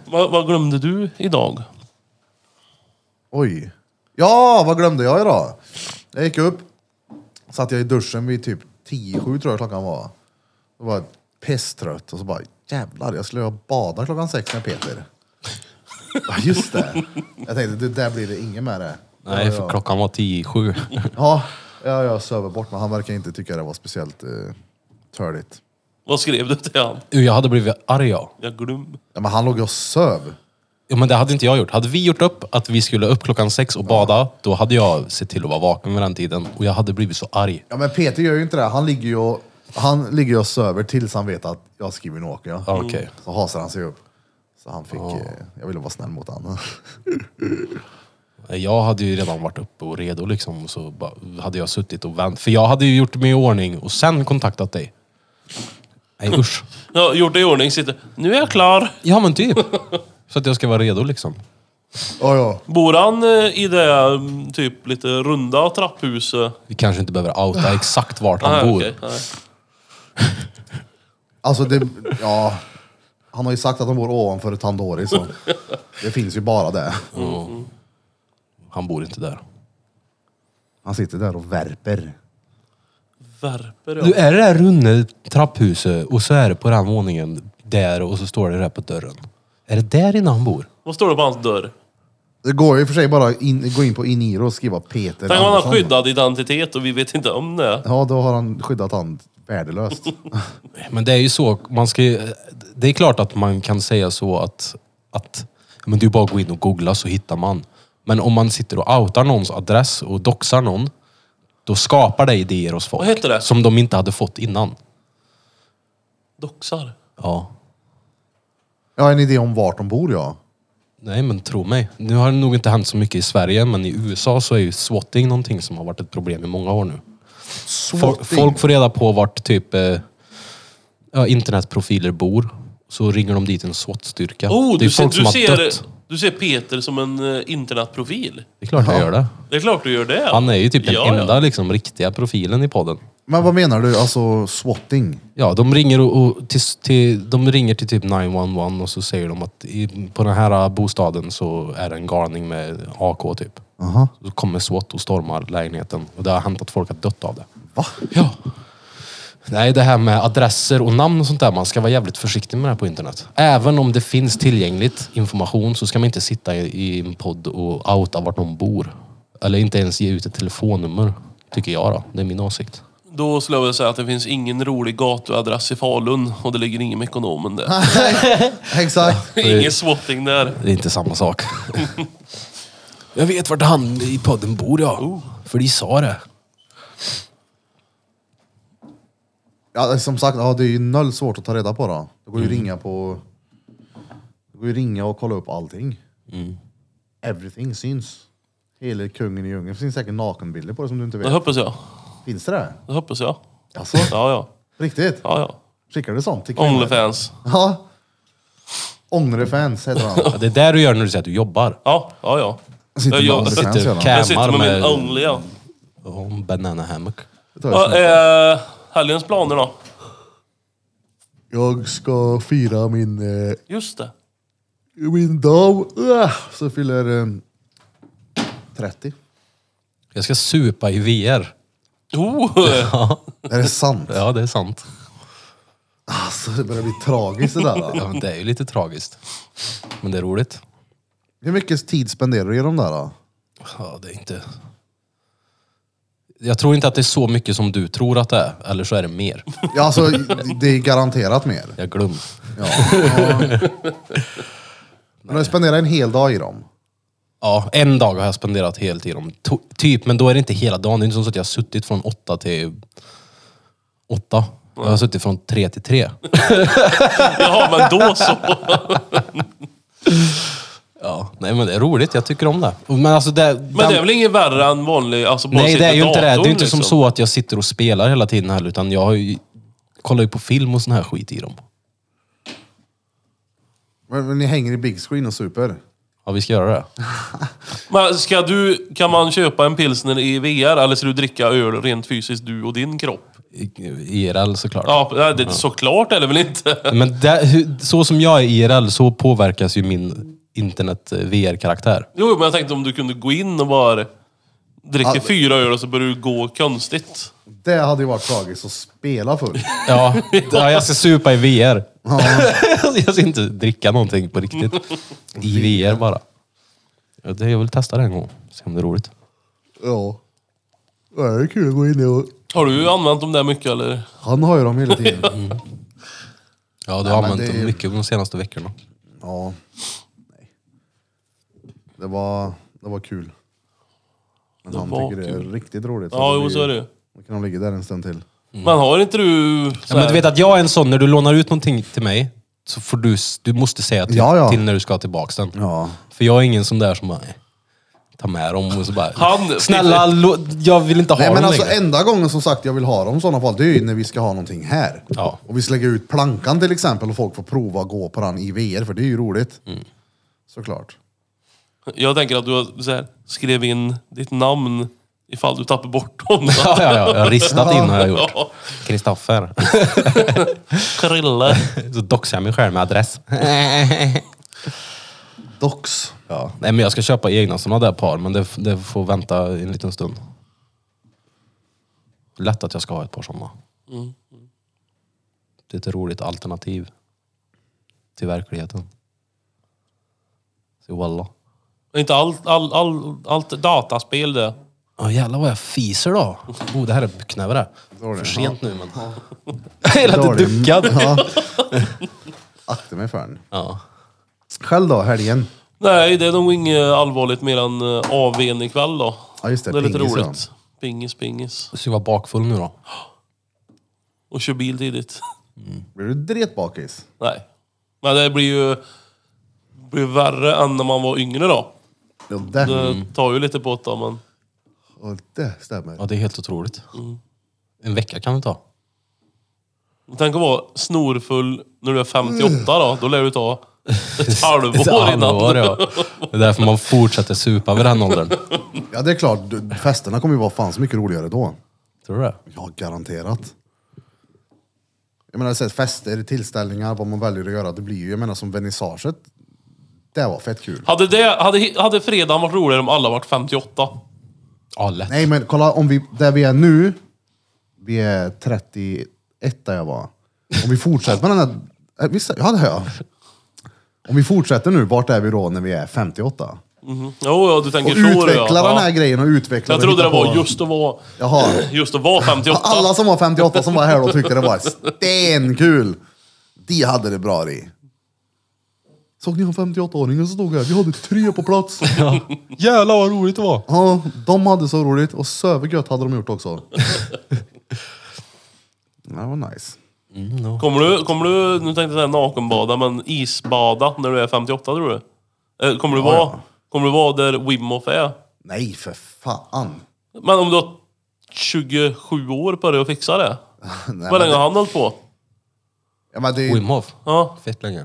Vad vad glömde du idag? Oj. Ja, vad glömde jag idag? Jag gick upp, satt jag i duschen vid typ 10 sju tror jag klockan var. Då var jag pisstrött och så bara jävlar, jag skulle ha badat klockan sex med Peter. Ja just det. Jag tänkte, det där blir det inget med det. Nej, Ja, för ja. klockan var tio i sju. Ja, ja, jag söver bort men han verkar inte tycka det var speciellt eh, törligt. Vad skrev du till han? Uh, Jag hade blivit arg jag. Jag glöm. Ja, men han låg ju och söv. Ja, men det hade inte jag gjort. Hade vi gjort upp att vi skulle upp klockan sex och bada, då hade jag sett till att vara vaken vid den tiden. Och jag hade blivit så arg. Ja men Peter gör ju inte det. Han ligger ju och, han ligger ju och söver tills han vet att jag skriver nu åker jag. Ah, Ja, Okej. Så hasar han sig upp. Så han fick, eh, jag ville vara snäll mot honom. Jag hade ju redan varit uppe och redo liksom. Och så bara, hade jag suttit och vänt. För jag hade ju gjort mig i ordning och sen kontaktat dig. Nej usch. Ja, gjort det i ordning, sitter... Nu är jag klar. Ja men typ. Så att jag ska vara redo liksom. Ja, ja. Bor han eh, i det mm, typ lite runda trapphuset? Vi kanske inte behöver outa exakt vart han Nej, bor. Ah, okej, nej. Alltså det, ja. Han har ju sagt att han bor ovanför Tandori så det finns ju bara det. Han bor inte där. Han sitter där och värper. Värper Du jag. är det där runde trapphuset och så är det på den våningen där och så står det där på dörren. Är det där inne han bor? Vad står det på hans dörr? Det går ju i och för sig bara in, gå in på Iniro och skriva Peter Tänk om han har Andersson. skyddad identitet och vi vet inte om det. Ja, då har han skyddat han värdelöst. Men det är ju så, man ska ju, det är klart att man kan säga så att, att men du bara att gå in och googla så hittar man. Men om man sitter och outar någons adress och doxar någon, då skapar det idéer hos folk. Vad heter det? Som de inte hade fått innan. Doxar. Ja. Jag har en idé om vart de bor ja. Nej men tro mig. Nu har det nog inte hänt så mycket i Sverige, men i USA så är ju swatting någonting som har varit ett problem i många år nu. Folk, Swatting. folk får reda på vart typ eh, ja, internetprofiler bor. Så ringer de dit en SWAT-styrka. Oh, det är du, ser, folk du, som har ser, dött. du ser Peter som en eh, internetprofil. Det är klart jag gör det. Det är klart du gör det. Han är ju typ den Ja, ja. enda liksom, riktiga profilen i podden. Men vad menar du? Alltså swatting? Ja, de ringer, och, och till, till, de ringer till typ 911 och så säger de att i, på den här bostaden så är det en galning med AK typ. Aha. Så kommer SWAT och stormar lägenheten och det har hänt att folk har dött av det. Va? Ja. Nej, det här med adresser och namn och sånt där. Man ska vara jävligt försiktig med det här på internet. Även om det finns tillgängligt information så ska man inte sitta i, i en podd och outa vart någon bor. Eller inte ens ge ut ett telefonnummer. Tycker jag då. Det är min åsikt. Då skulle jag vilja säga att det finns ingen rolig gatuadress i Falun och det ligger ingen Mekonomen där. Exakt. ingen swatting där. Det är inte samma sak. jag vet vart han i podden bor ja. För de sa det. Ja, som sagt, ja, det är ju noll svårt att ta reda på då. Det går ju ringa på... Det går ju ringa och kolla upp allting. Everything syns. Hela kungen i djungeln. Det finns säkert nakenbilder på det som du inte Det vet. hoppas jag. Finns det det? Det hoppas jag. Alltså, Ja, ja. riktigt? ja, ja. Skickar du sånt till Onlyfans. Ja. Ångrefans heter han. Ja, det är det du gör när du säger att du jobbar. Ja, ja, ja. Sitter Jag med gör- Ångrefans Sitter gör han. cap- Jag sitter med Hämmar min med- Only, ja. Och en banana hammock. Det tar jag som Vad ett- är eh, helgens planer då? Jag ska fira min, eh, Just det. min dam. Ah, Så fyller eh, 30. Jag ska supa i VR. Oh, Är det sant? Ja, det är sant. Alltså det börjar bli tragiskt det där. va? Ja, men det är ju lite tragiskt. Men det är roligt. Hur mycket tid spenderar du i de där då? Ja, det är inte... Jag tror inte att det är så mycket som du tror att det är. Eller så är det mer. Ja, alltså, det är garanterat mer. Jag glömmer. Ja. Men du spenderar en hel dag i dem. Ja, en dag har jag spenderat helt i dem. To- typ, men då är det inte hela dagen. Det är inte så att jag har suttit från åtta till åtta. Jag har suttit från tre till tre. jaha, men då så. Ja, nej men det är roligt. Jag tycker om det. Men alltså det... Men den- det är väl inget värre än vanlig... Alltså, bara Nej, sitta det är ju i inte det. Det är datorn, ju inte som liksom. så att jag sitter och spelar hela tiden heller, utan jag har ju, kollar ju på film och sån här skit i dem. Men, men ni hänger i big screen och super. Ja, vi ska göra det. Men ska du, kan man köpa en pilsner i VR eller ska du dricka öl rent fysiskt, du och din kropp? I- IRL såklart. Ja, nej, det, såklart är det väl inte. Men där, hur- så som jag är IRL så påverkas ju min eh, internet-VR-karaktär. Jo, men jag tänkte om du kunde gå in och bara dricka Ja. fyra öl och så börjar du gå konstigt. Det hade ju varit tragiskt att spela full. Ja, ja, jag ska supa i VR. jag ska inte dricka någonting på riktigt. I VR bara. Ja, det, jag vill testa det en gång. Se om det är roligt. Ja. Det är kul att gå in i och... Har du använt dem där mycket eller? Han har ju dem hela tiden. Ja, du men har använt det är dem ju- mycket de senaste veckorna. Ja. Nej. Det var, det var kul. Men han var tycker det är riktigt roligt. Ja, det jo, blir- så är det ju. Då kan de ligga där en stund till. Men har inte du... så Mm. Ja, men här- du vet att jag är en sån, när du lånar ut någonting till mig, så får du, du måste säga till, Ja, ja. till när du ska ha tillbaka den. Ja. För jag är ingen sån där som bara, eh, tar med dem och så bara, Han- snälla, lo, jag vill inte ha Nej dem men alltså längre. enda gången som sagt jag vill ha dem i sådana fall, det är ju när vi ska ha någonting här. Ja. Och vi ska lägga ut plankan till exempel och folk får prova att gå på den i VR, för det är ju roligt. Mm. Såklart. Jag tänker att du har så här, skrev in ditt namn ifall du tappar bort dem. Ja, ja, ja, jag har ristat in har jag gjort. Ja, Kristoffer. Krille. Så doxar jag mig själv med adress. Dox. Ja. Nej men jag ska köpa egna såna där par, men det, f- det får vänta en liten stund. Lätt att jag ska ha ett par såna. mm. Det är ett roligt alternativ till verkligheten. Så walla. Inte allt, all, all, allt dataspel det. Ja jävlar vad jag fiser då. Oh, det här är knäver det. För sent nu men. Hela Dålig. tiden duckad. Ja. Akta mig för den. Ja. Själv då, helgen? Nej, det är nog inget allvarligt mer än eh, AWn ikväll då. Ja just det, det är lite pingis, ja. roligt. Pingis, pingis. Så jag var bakfull nu då. Och kör bil tidigt. Blir du dretbakis? Nej. Men det blir ju blir värre än när man var yngre då. Ja, det, Det tar ju lite på ett tag, men... Och det stämmer. Ja det är helt otroligt. En vecka kan det ta. Tänk att vara snorfull när du är 58 då. Då lär du ta ett Ett halvår innan. halvår, ja. Det är därför man fortsätter supa vid den åldern. Ja det är klart, du- festerna kommer ju vara fan så mycket roligare då. Tror du det? Ja, garanterat. Jag menar, så här, fester, tillställningar, vad man väljer att göra. Det blir ju, jag menar som vernissaget. Det var fett kul. Hade, det, hade, hade fredagen varit roligare om alla varit 58? Ja, lätt. Nej men kolla, om vi, där vi är nu. Vi är 31 där jag var. Om vi fortsätter med den här... eh, Visst, ja det har jag. Om vi fortsätter nu, vart är vi då när vi är 58? Mhm. Jo, ja, du tänker Och så. ja. utveckla den här ja. grejen och utveckla Jag den, trodde det hitta på var den. just att vara, Jaha. just att vara 58. Alla som var 58 som var här då tyckte det var stenkul. De hade det bra i. Såg ni han 58-åringen som stod här? Vi hade tre på plats. Ja. Jävlar vad roligt det var. Ja, de hade så roligt och sövergött hade de gjort också. Det var nice. Kommer du, kommer du, nu tänkte jag säga nakenbada, men isbada när du är 58 tror du? Eh, Kommer du vara, ja. kommer du vara där Wimoff är? Nej för fan. Men om du har 27 år på dig att fixa det? Nej, Vad men länge har det, han hållit på? ja, men det, Wim Hof. Ja. Fett länge.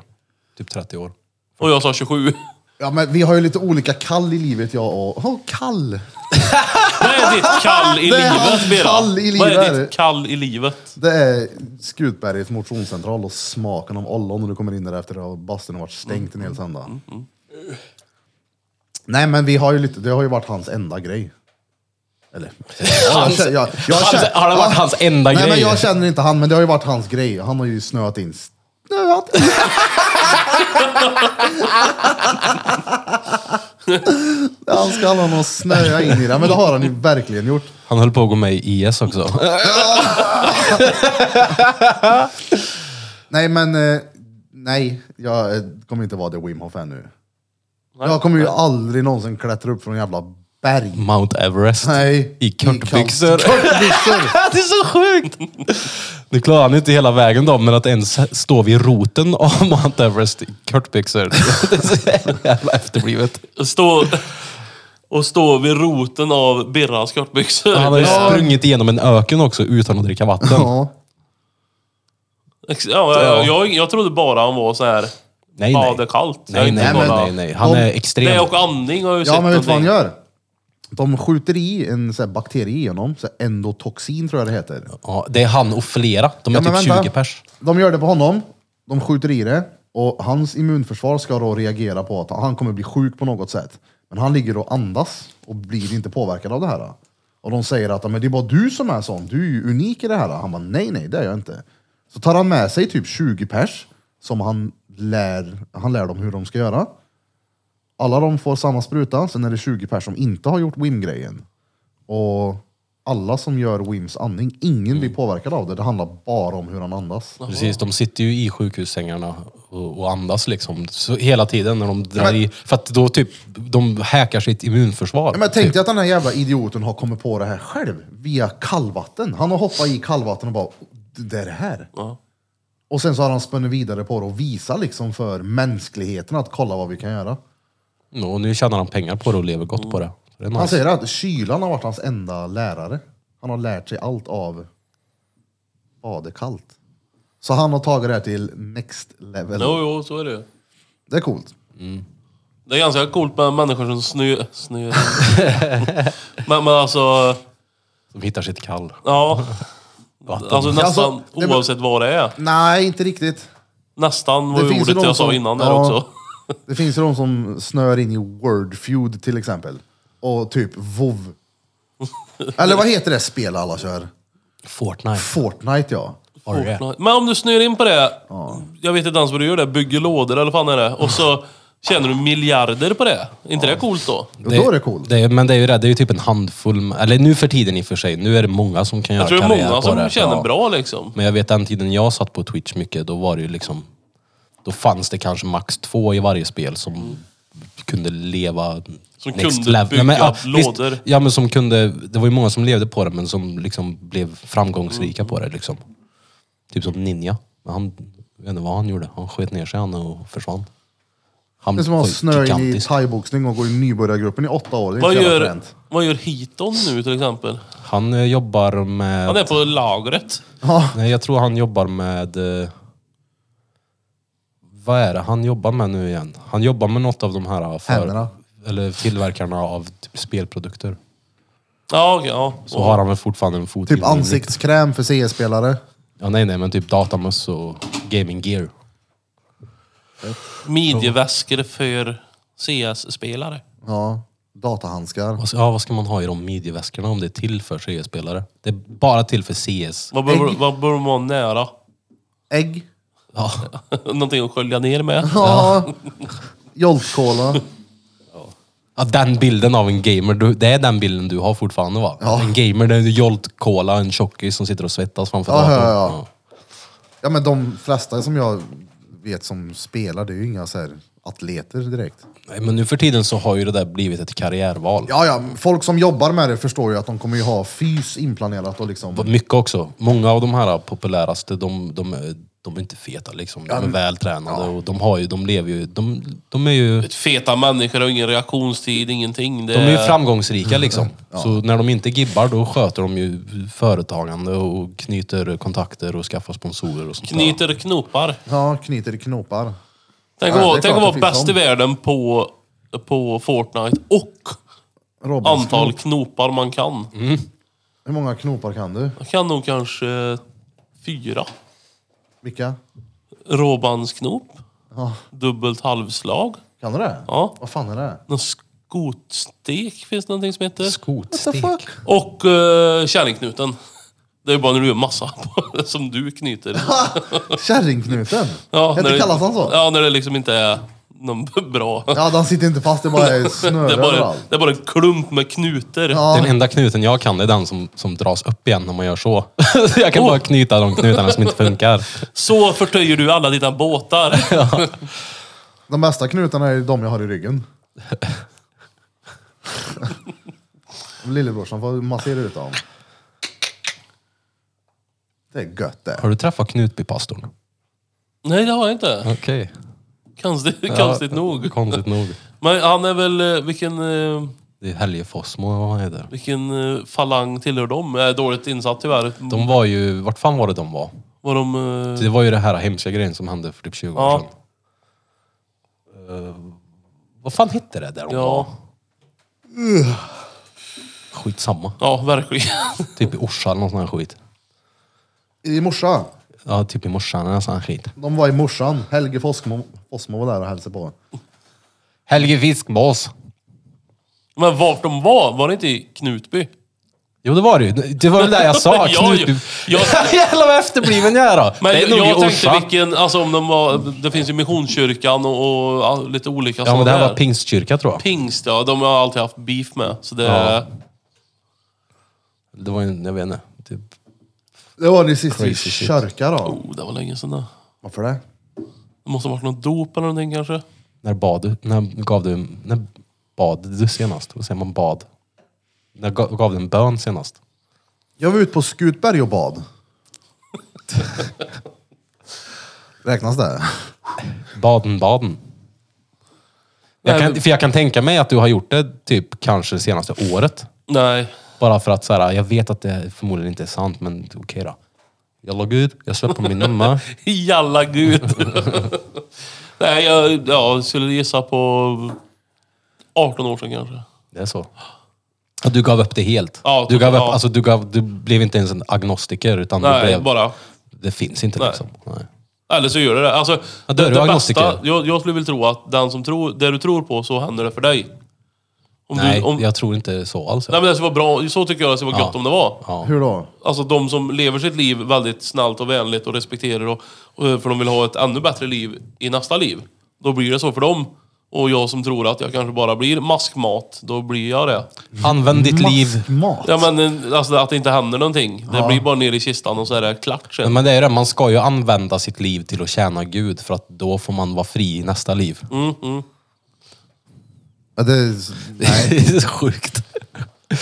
Typ 30 år. Och jag sa 27. ja, men vi har ju lite olika kall i livet jag och... Oh, kall! Vad är ditt kall i Det är livet, hans Bera? kall i Vad är livet. ditt kall i livet? Det är Skutbergets motionscentral och smaken av ollon när du kommer in där efter att bastun har varit stängt Mm. en hel söndag. Nej men vi har ju lite, det har ju varit hans enda grej. Eller? Hans, jag, jag, jag Hans- känner- Alltså, har det varit ja, hans enda Nej grej? men jag känner inte han, men det har ju varit hans grej. Han har ju snöat in. Snöat in. Han ska ha någon att snöa in i det, men det har han ju verkligen gjort. Han höll på att gå med i IS också. Nej, men eh, nej, jag eh, kommer inte vara det Wim Hof ännu. Jag kommer ju aldrig någonsin klättra upp från en jävla berg. Mount Everest. Nej. I I kortbyxor. kall- Kortbyxor! det är så sjukt! Nu klarar han ju inte hela vägen då, men att ens stå vid roten av Mount Everest i kortbyxor. Det är så jävla efterblivet. Stå, och stå vid roten av Birras kortbyxor. Han har ju sprungit igenom en öken också utan att dricka vatten. Ja. Ex- Ja, jag, jag, jag trodde bara han var så här Nej, nej. badekallt. Jag har Nej, inte nej, nej, kollat. nej, nej. Han De- är Det extrem. och andning har jag ju ja, sett men vet du vad han någonting. gör? De skjuter i en så här, bakterie i honom, så här, endotoxin tror jag det heter. Ja, det är han och flera. De är Ja, men typ vänta. 20 pers. De gör det på honom, de skjuter i det och hans immunförsvar ska då reagera på att han kommer bli sjuk på något sätt. Men han ligger och andas och blir inte påverkad av det här. Och de säger att men det är bara du som är sån, du är ju unik i det här. Han bara nej, nej, det är jag inte. Så tar han med sig typ 20 pers som han lär, han lär dem hur de ska göra. Alla de får samma spruta, sen är det 20 pers som inte har gjort WIM-grejen. Och alla som gör WIMs andning, ingen blir påverkad av det. Det handlar bara om hur han andas. Precis, de sitter ju i sjukhussängarna och, och andas liksom. Så hela tiden när de drar i. För att då typ, de hackar sitt immunförsvar. Ja, men typ. tänk dig att den här jävla idioten har kommit på det här själv, via kallvatten. Han har hoppat i kallvatten och bara, det är det här. Ja. Och sen så har han spunnit vidare på det och visar liksom för mänskligheten att kolla vad vi kan göra. Och nu tjänar han pengar på det och lever gott på det. Så det är Han nice. säger att kylan har varit hans enda lärare. Han har lärt sig allt av badekallt. Så han har tagit det här till next level. Jo, jo, så är det ju. Det är coolt. Det är ganska coolt med människor som snö... snö. men, men alltså, De hittar sitt kall. ja. Alltså nästan Alltså, det- oavsett vad det är. Nej, inte riktigt. Nästan Det var ju finns ju ordet de jag sa som- innan där ja. också. Det finns ju de som snör in i Wordfeud till exempel. Och typ WoW. Eller vad heter det spel alla kör? Fortnite. Fortnite ja. Har du det? Men om du snör in på det, jag vet inte ens vad du gör där, bygger lådor eller vad fan är det? Och så tjänar du miljarder på det. Är inte det coolt då? Och då är det coolt. Det är, men det är ju det, det är ju typ en handfull, eller nu för tiden i och för sig, nu är det många som kan göra Jag tror det är karriär många på som det. tjänar Ja. bra liksom. Men jag vet den tiden jag satt på Twitch mycket, då var det ju liksom, då fanns det kanske max två i varje spel som kunde leva Som next kunde level. bygga ja, lådor. Visst, ja men som kunde, det var ju många som levde på det men som liksom blev framgångsrika på det liksom. Typ som Ninja. Men han, jag vet inte vad han gjorde, han sköt ner sig han och försvann. Han Det är som att var man ju snör in i gigantisk. thaiboxning och går i nybörjargruppen i åtta år. Det är Vad inte så jävla gör, fränt. Typ vad gör Hiton nu till exempel? Han eh, jobbar med... Han är på lagret. Ja. Nej, jag tror han jobbar med... eh, Vad är det han jobbar med nu igen? Han jobbar med något av de här... eh, För, Händerna. eller tillverkarna av typ spelprodukter. Ja, okej, ja. Så har han väl fortfarande en fot Typ inne i- ansiktskräm för CS-spelare. Ja, nej, nej, men typ datamöss och gaming gear. Midjeväskor för CS-spelare. Ja, datahandskar. Vad ska- Ja, vad ska man ha i de midjeväskorna om det är till för CS-spelare? Det är bara till för CS. Vad bör, vad bör man vara nära? Ägg. Ja. Någonting att skölja ner med? Ja. Jolt-cola. Ja, den bilden av en gamer, du, det är den bilden du har fortfarande va? Ja. En gamer, det är en Jolt Cola, en tjockis som sitter och svettas framför Ja, ja, datorn. ja. Ja men de flesta som jag vet som spelar, det är ju inga så här atleter direkt. Nej, men nu för tiden så har ju det där blivit ett karriärval. Ja, ja, folk som jobbar med det förstår ju att de kommer ju ha fys inplanerat och Och liksom... Mycket också. Många av de här populäraste, de, de, är- de är inte feta liksom. De är vältränade och de, har ju, de lever ju... De, de är ju... Feta människor har ingen reaktionstid, ingenting. Det De är ju är- framgångsrika liksom. Så när de inte gibbar då sköter de ju företagande och knyter kontakter och skaffar sponsorer och sånt där. Knyter knopar. Ja, knyter knopar. Ja, det Tänk att är vara- klart tänk att vara det finns bäst i dem. världen på, på Fortnite och Robins antal knop. knopar man kan. Mm. Hur många knopar kan du? Jag kan nog kanske eh, fyra. Vilka? Råbandsknop. Ja. Dubbelt halvslag. Kan du det? Ja. Vad fan är det? Någon skotstek finns det någonting som heter. Skotstek. What the Och uh, kärringknuten. Det är bara när du gör massa som du knyter. Kärringknuten? Ja, Hette när det- kallas han så? Ja, när det liksom inte är någon bra. Ja, den sitter inte fast, det bara är snöre Det är, bara, överallt. det är bara en klump med knuter. Den enda knuten jag kan är den som, som dras upp igen när man gör så. så jag kan bara knyta de knutarna som inte funkar. Så förtöjer du alla dina båtar. De bästa knutarna är de jag har i ryggen. Lillebrorsan får massera ut dem. Det är gött det. Har du träffat Knutbypastorn? Nej, det har jag inte. Okej. Konstigt, konstigt nog. Konstigt nog. Men han är väl... eh, Vilken, eh, Det är Helge Fossmo vad han heter. vilken eh, falang tillhör de? Jag är dåligt insatt tyvärr. De var ju, vart fan var det de var? Var de... eh, Det var ju det här hemska grejen som hände för typ 20 år Ja. sedan. Eh, vad fan hette det där de var? Ja, Skitsamma. ja verkligen. Typ i Orsa eller någon sån här skit. I morsan. Ja, typ i morsan eller nån sån här skit. De var i morsan. Helge Fossmo, Fossmo var där och hälsade på. Helge Fiskmås. Men vart de var, var det inte i Knutby? Jo, det var det ju. Det var väl det jag sa. Ja, ju. Knutby. Jag- Jävlar vad efterbliven jag är då. Men det är nog jag i tänkte Orsa. vilken, alltså om de var, det finns ju Missionskyrkan och, och all- lite olika Ja, men det här där. var pingstkyrka tror jag. Pingst, ja. De har jag alltid haft beef med. Så det, Ja. Det var ju, jag vet inte. Typ. Det var det sista i Crazy shit. kyrka då. oh, det var länge sedan det. Varför det? Det måste ha varit något dop eller någonting kanske. När bad du? När gav du... När bad du senast? Vad säger man bad? När gav, gav du en bön senast? Jag var ute på Skutberg och bad. Räknas det? Baden, baden. Jag Nej, kan, men- för jag kan tänka mig att du har gjort det typ kanske senaste året. Nej. Bara för att så här, jag vet att det förmodligen inte är sant, men okej då. Jag låg ut, jag släpper min mamma. Jalla gud. Nej, jag ja, skulle gissa på 18 år sedan kanske. Det är så. Och du gav upp det helt. Ja, du, gav upp, ja. alltså, du, gav, du blev inte ens en agnostiker, utan du Nej, blev, bara. det finns inte Nej. liksom. Nej. Eller så gör det det. Alltså, Ja, då är det, du det agnostiker. bästa, jag, jag skulle väl tro att den som tror, det du tror på, så händer det för dig. Om Nej, du, om, jag tror inte så alls. nej men det skulle vara bra, så tycker jag det skulle vara gött om det var. Ja. Hur då? Alltså de som lever sitt liv väldigt snällt och vänligt och respekterar och, och för de vill ha ett ännu bättre liv i nästa liv. Då blir det så för dem. Och jag som tror att jag kanske bara blir maskmat, då blir jag det. Använd ditt liv. Maskmat? Ja men eh, alltså att det inte händer någonting. Det blir bara ner i kistan och så är det klart sen. Men det är ju det, man ska ju använda sitt liv till att tjäna Gud, för att då får man vara fri i nästa liv. Mm. Ja, det, nej. det är så sjukt.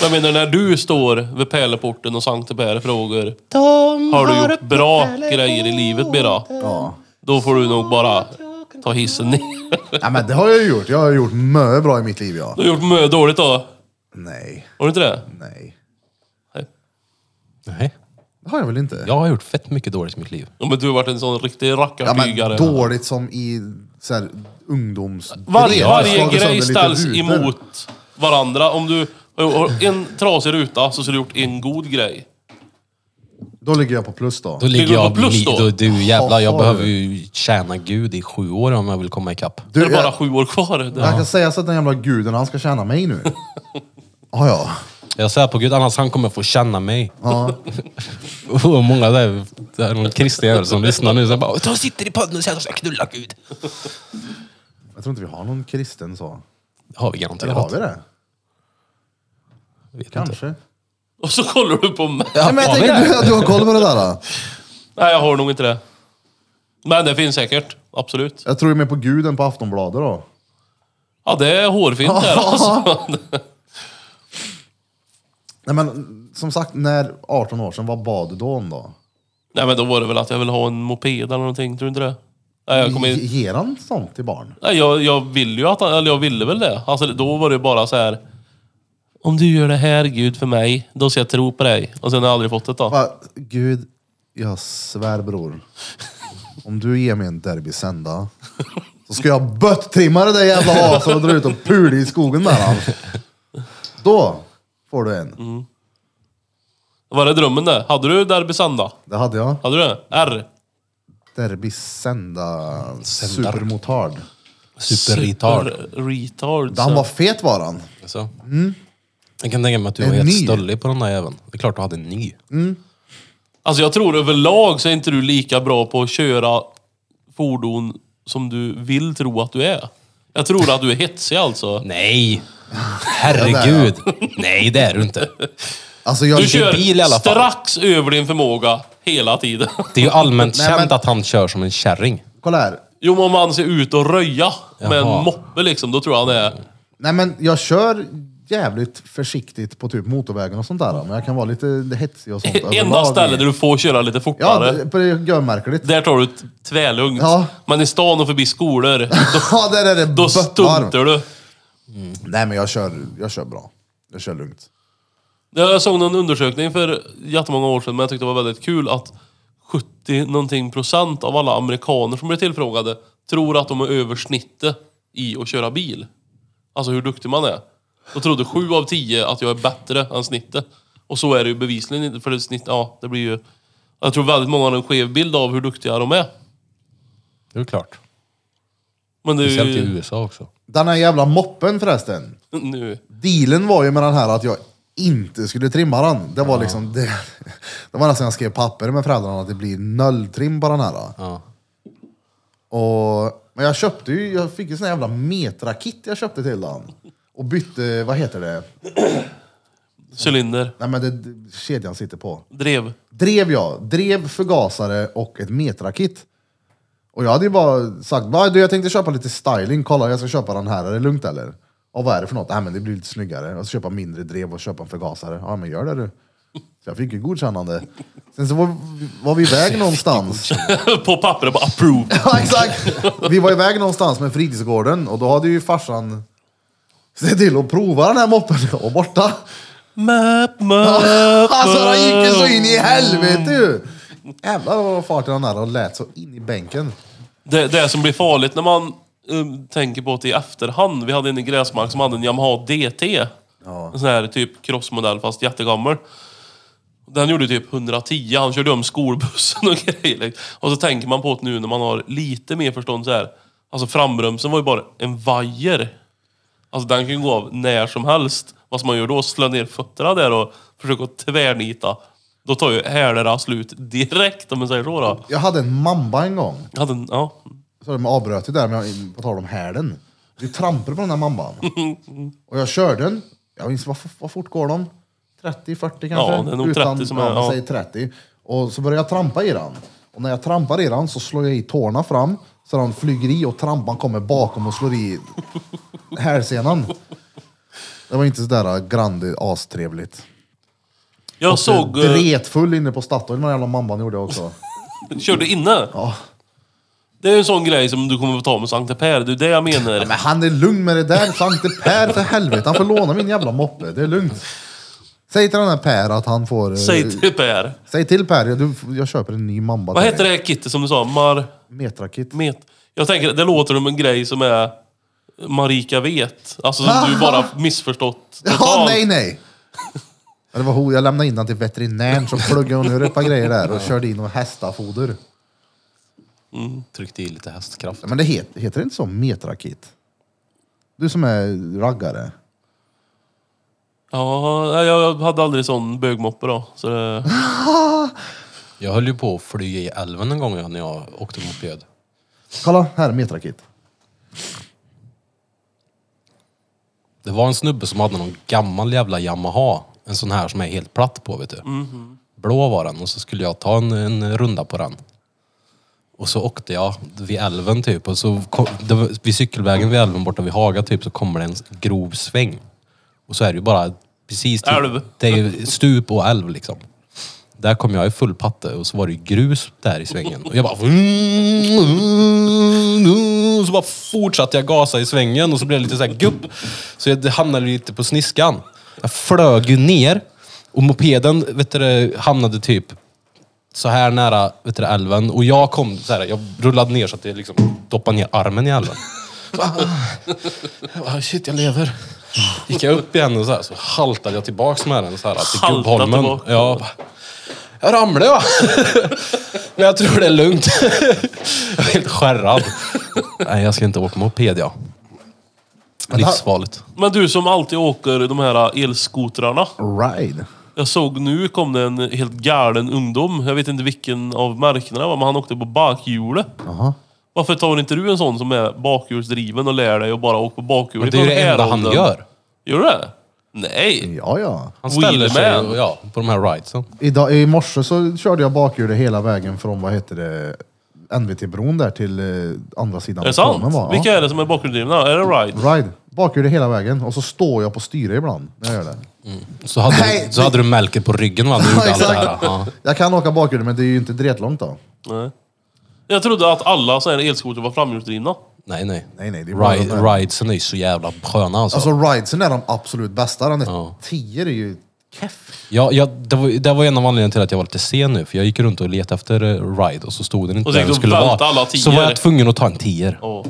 Jag menar när du står vid pärleporten och Sankte Per frågar De Har du gjort bra grejer i livet Bera? Ja. Då får du nog bara ta hissen ner. ja, men det har jag gjort. Jag har gjort mycket bra i mitt liv, ja. Du har gjort mö dåligt då. Nej, Har du inte det? nej. Nej. Nej, Det har jag väl inte? jag har gjort fett mycket dåligt i mitt liv. Ja, men du har varit en sån riktig Ja, men rackarflygare. dåligt som i så här, ungdoms... varje Slagit varje sönder grej lite ställs rutor. emot varandra. Om du Och- och En trasig ruta så skulle du gjort en god grej. Då ligger jag på plus då. Då ligger du på jag... plus li- då? då? Du jävlar, jag Jaha, behöver du. ju tjäna Gud i sju år om jag vill komma ikapp. Det är jag- bara sju år kvar. Jag kan säga så att den jävla guden, han ska tjäna mig nu. Ah, ja. Jag svär på Gud, annars han kommer få känna mig. Och många där, där är någon kristen jävel som lyssnar nu, så jag bara "Ta och sitter i podden och säger att jag ska knulla Gud. Jag tror inte vi har någon kristen så. Det har vi Eller garanterat. har vi det? Jag vet inte. Kanske. Och så kollar du på mig. Nej, men jag har vi tänkte att du har koll på det där. Då. Nej, jag har nog inte det. Men det finns säkert. Absolut. Jag tror ju mer på guden på Aftonbladet då. Ja, det är hårfint där alltså. Nej men som sagt, när 18 år sedan, vad bad du då om då? Nej, men då var det väl att jag ville ha en moped eller någonting. Tror du inte det? Nej, jag, kom Ge- in... Ger han sånt till barn? Nej, jag, jag ville ju att han, eller jag ville väl det. Alltså, då var det bara så här. Om du gör det här Gud för mig, då ska jag tro på dig. Och sen har jag aldrig fått det då. Va, Gud, jag svär bror. Om du ger mig en derbysända så ska jag böttrimma det där jävla aset och dra ut och pula i skogen med han. Då får du en. Var det drömmen det? Hade du derbysanda? Det hade jag. Hade du det? R? Derbysända Sändar. supermotard. Superretard. Super retard. Han så. var fet var han. Så. Jag kan tänka mig att du Mm. En var helt ny. Mm. stöllig på den där jäveln. Det är klart du hade en ny. Alltså jag tror överlag så är inte du lika bra på att köra fordon som du vill tro att du är. Jag tror att du är hetsig alltså. Mm. Nej! Herregud! Nej, det är du inte. Alltså jag... Du kör bil i alla fall. strax över din förmåga hela tiden. Det är ju allmänt Nej, känt men- att han kör som en kärring. Kolla här. Jo men om man ser ut och röja med en Jaha. moppe liksom, då tror jag han är... Nej men jag kör jävligt försiktigt på typ motorvägen och sånt där. Men jag kan vara lite hetsig och sånt. Enda överlag. stället där du får köra lite Ja, fortare, det- på det gör märkligt. där tar du ett tvärlugnt. Ja. Men i stan och förbi skolor, då, Ja, där är det då böttvarv. stuntar du. Nej men jag kör, jag kör bra. Jag kör lugnt. Jag såg någon undersökning för jättemånga år sedan, men jag tyckte det var väldigt kul att 70 någonting procent av alla amerikaner som blir tillfrågade tror att de är över snittet i att köra bil. Alltså hur duktig man är. Då trodde 7 av 10 att jag är bättre än snittet. Och så är det ju bevisligen inte, för det snitt, ja, det blir ju... Jag tror väldigt många har en skev bild av hur duktiga de är. Det är klart. Men det är Speciellt i ju... USA också. Den här jävla moppen förresten. Nu. Dealen var ju med den här att jag inte skulle trimma den. Det var liksom det. Det var nästan jag skrev papper med föräldrarna att det blir nolltrim på den här. Ja. Och, men jag köpte ju, jag fick ju sån här jävla metrakit jag köpte till den. Och bytte, vad heter det? Cylinder. Nej men det- det kedjan sitter på. Drev. drev jag. Drev, förgasare och ett metrakit. Och jag hade ju bara sagt, "Va, du jag tänkte köpa lite styling, kolla jag ska köpa den här, är det lugnt eller? Och vad är det för något? Nej men det blir lite snyggare. Och så köpa mindre drev och köpa en förgasare. Ja men gör det du. Så jag fick ju godkännande. Sen så var, var vi iväg någonstans. på pappret bara approve. Ja exakt! Vi var iväg någonstans med fritidsgården och då hade ju farsan sett till att prova den här moppen och borta. Map, map, Alltså den gick ju så in i helvete ju! Jävlar vad farten han hade och lät så in i bänken. Det, det som blir farligt när man um, tänker på det i efterhand. Vi hade en i gräsmark som hade en Yamaha DT. En sån här typ crossmodell fast jättegammal. Den gjorde typ 110, han körde om skolbussen och grejer. liksom. Och så tänker man på det nu när man har lite mer förstånd så här. Alltså frambromsen var ju bara en vajer. Alltså den kan ju gå av när som helst. Vad som man gör då, slå ner fötterna där och försöka tvärnita. Då tar ju hälarna slut direkt om man säger så då. Jag hade en mamba en gång. Jag hade en, ja. Så de avbröt ju där, men jag, på tal om härden. Vi trampade på den här mamban. Och jag körde den. Jag minns, vad, f- vad fort går de? 30, 40 kanske? Ja, det är nog 30 som är- ja, man ja. säger 30. Och så började jag trampa i den. Och när jag trampar i den så slår jag i tårna fram. Så den flyger i och trampan kommer bakom och slår i hälsenan. Det var inte sådär grande astrevligt. Jag såg... eh, Dretfull inne på Statoil, den jävla mamban gjorde jag också. Kör du inne? Ja. Det är en sån grej som du kommer få ta med Sankte Per, det är det jag menar. Men han är lugn med det där. Sankte Per för helvete. Han får låna min jävla moppe. Det är lugnt. Säg till den här Per att han får... eh, Säg till Per. säg till Per, jag, du, jag köper en ny mamba Vad heter det här kittet som du sa? Mar... Metrakit. Met... Jag tänker, det låter som en grej som är Marika vet. Alltså som du bara missförstått Ja, nej, nej. Ja, Det var hon, jag lämnade in den till veterinären så pluggade hon ur ett par grejer där och körde in något hästafoder. Tryckte i lite hästkraft. Ja, Men det heter, heter det inte så metrakit? Du som är raggare. Ja, nej, jag hade aldrig sån bögmoppe då. Så det... Jag höll ju på att fly i älven en gång när jag åkte moped. Kolla, här, metrakit. Det var en snubbe som hade någon gammal jävla Yamaha. En sån här som är helt platt på vet du. Blå var den och så skulle jag ta en, en runda på den. Och så åkte jag vid älven typ och så kom, det var, vid cykelvägen vid älven borta vid Haga typ så kommer det en grov sväng. Och så är det ju bara precis typ, Älv. Det är ju stup och älv liksom. Där kom jag i full patte och så var det ju grus där i svängen. Och jag bara... Och så bara fortsatte jag gasa i svängen och så blev det lite så här gupp. Så jag hamnade lite på sniskan. Jag flög ju ner och mopeden vet du, det, hamnade typ så här nära vet du, det, älven. Och jag kom så här, jag rullade ner så att jag liksom doppade ner armen i älven. Jag bara, shit jag lever. Gick jag upp igen och så, här, så haltade jag tillbaks med den så här till Haltade Gubbholmen. Ja, tillbaka. jag bara, jag ramlade jag. Men jag tror det är lugnt. jag är helt skärrad. Nej, jag ska inte åka moped jag. Livsfarligt. Men du som alltid åker de här elskotrarna. Ride. Jag såg nu kom det en helt galen ungdom. Jag vet inte vilken av märkena det var, men han åkte på bakhjulet. Jaha. Varför tar inte du en sån som är bakhjulsdriven och lär dig att bara åka på Men bakhjulet? det är ju från det enda han Härolden? gör. Gör du det? Nej. Ja, ja. Han ställer sig Wheelman. och, ja, på de här ridesen. Idag, I morse så körde jag bakhjulet hela vägen från, vad heter det, NVT-bron där till eh, andra sidan. Är det sant? var. Vilka Ja. är det som är bakhjulsdrivna? Är det ride? Ride. Bakhjulet hela vägen och så står jag på styre ibland när jag gör det. Så hade, Nej, du, så hade du Melker på ryggen va? Du gjorde allt det här. Ja. Jag kan åka bakhjulet men det är ju inte dretlångt då. Nej. Jag trodde att alla sådana här elskotrar var framhjulsdrivna. Nej, nej. Nej, nej, det är bara de Ride, här. ridesen är ju så jävla sköna alltså. Alltså ridesen är de absolut bästa. Den är Ja. tio är ju keff. Ja, ja, det, var, det var en av anledningarna till att jag var lite sen nu. För jag gick runt och letade efter eh, ride och så stod den inte Och så där gick den skulle du och välte vara. alla så var tior. jag tvungen att ta en tier. Ja.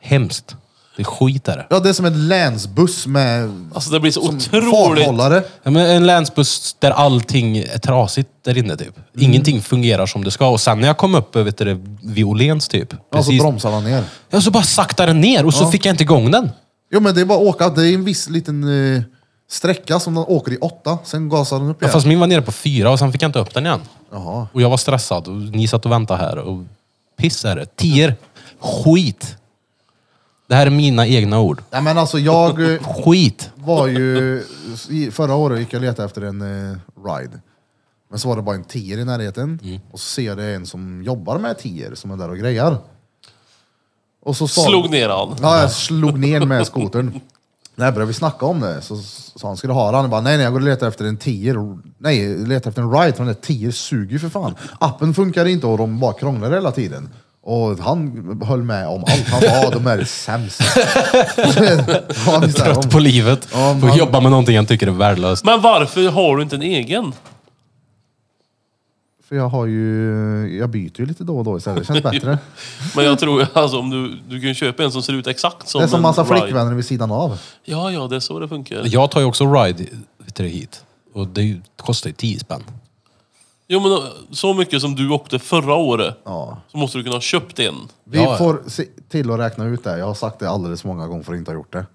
Hemskt. Det är skit är det. Ja, det är som en länsbuss med Alltså det blir så otroligt... farthållare. Ja, men en länsbuss där allting är trasigt där inne typ. Mm. Ingenting fungerar som det ska. Och sen när jag kom upp eh, vet du, det, vid Åhléns typ. Ja, så Precis. bromsar han ner. Ja, så bara saktade den ner och så fick jag inte igång den. Jo men det är bara att åka. Det är en viss liten eh, sträcka som den åker i åtta. Sen gasar den upp Ja. igen. Fast min var nere på fyra och sen fick jag inte upp den igen. Jaha. Och jag var stressad och ni satt och väntade här och piss är det. Tier. Skit. Det här är mina egna ord. Nej men alltså jag eh, Skit. var ju... i- Förra året gick jag och letade efter en eh, ride. Men så var det bara en tier i närheten. Mm. Och så ser jag det är en som jobbar med tier som är där och grejar. Och så sa Slog ner han. Ja, jag slog ner med skotern. När jag började vi snacka om det så sa han, ska du ha den? Jag bara, nej nej, jag går och letar efter en tier. Nej, jag letar efter en ride, för den där tier suger ju för fan. Appen funkar inte och de bara krånglar hela tiden. Och han höll med om allt. Han bara, ja de är sämst. ja, visst är Trött de. på livet. Ja, Och man- jobba med någonting han tycker är värdelöst. Men varför har du inte en egen? För jag har ju, jag byter ju lite då och då istället. Det känns bättre. Men jag tror alltså om du, du kan ju köpa en som ser ut exakt som Det är som en massa ride. flickvänner vid sidan av. Ja, ja, det är så det funkar. Jag tar ju också ride vet du, hit. Och det är ju- det kostar ju 10 spänn. Jo men eh, så mycket som du åkte förra året Ja. så måste du kunna ha köpt en. Vi Ja, ja. får se till att räkna ut det. Jag har sagt det alldeles många gånger för att inte ha gjort det.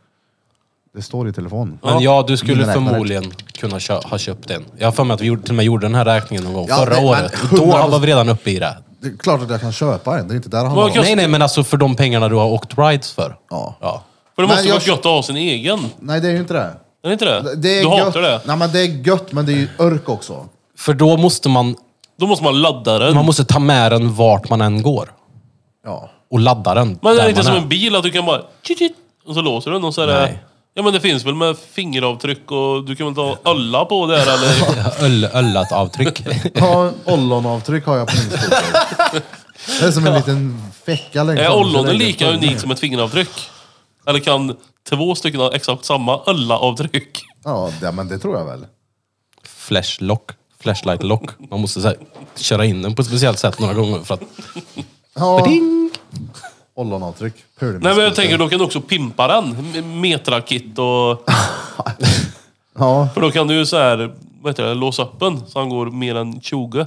Det står i telefonen. Men ja, du skulle Mina räknare. förmodligen kunna kö- ha köpt en. Jag har för mig att vi gjorde, till och med gjorde den här räkningen någon gång Ja, förra men- året. men- Och Då var vi redan uppe i det. Det är klart att jag kan köpa en, det är inte där det handlar Vad om. kan- Nej, nej, men alltså för de pengarna du har åkt rides för. Ja. ja. För det Men måste jag- vara gött att ha sin egen. Nej, det är ju inte det. Är det inte det? Det- det är du gött. hatar det? Nej, men det är gött, men det är ju örk också. För då måste man, Då måste man ladda den. man måste ta med den vart man än går. Ja. Och ladda den. men det där är inte man som en bil att du kan bara... tjit-tjit, Och så låser du den och så är det... Nej. Ja men det finns väl med fingeravtryck och du kan väl ta ölla på där eller? Ja, Öl, öllat avtryck. ja ollonavtryck har jag på min skoter. Det är som en liten fäcka längst Är fram. ollonen lika unikt som ett fingeravtryck? Eller kan två stycken ha exakt samma ölla-avtryck? Ja, det, men det tror jag väl. Flashlock. Flashlight lock. Man måste så här, köra in den på ett speciellt sätt några gånger för att... Ja. Ding! Ollonavtryck. Nej men jag tänker då kan du också pimpa den. M- Metrakit och... Ja. För då kan du ju så här, vad heter det, låsa upp den så han går mer än 20.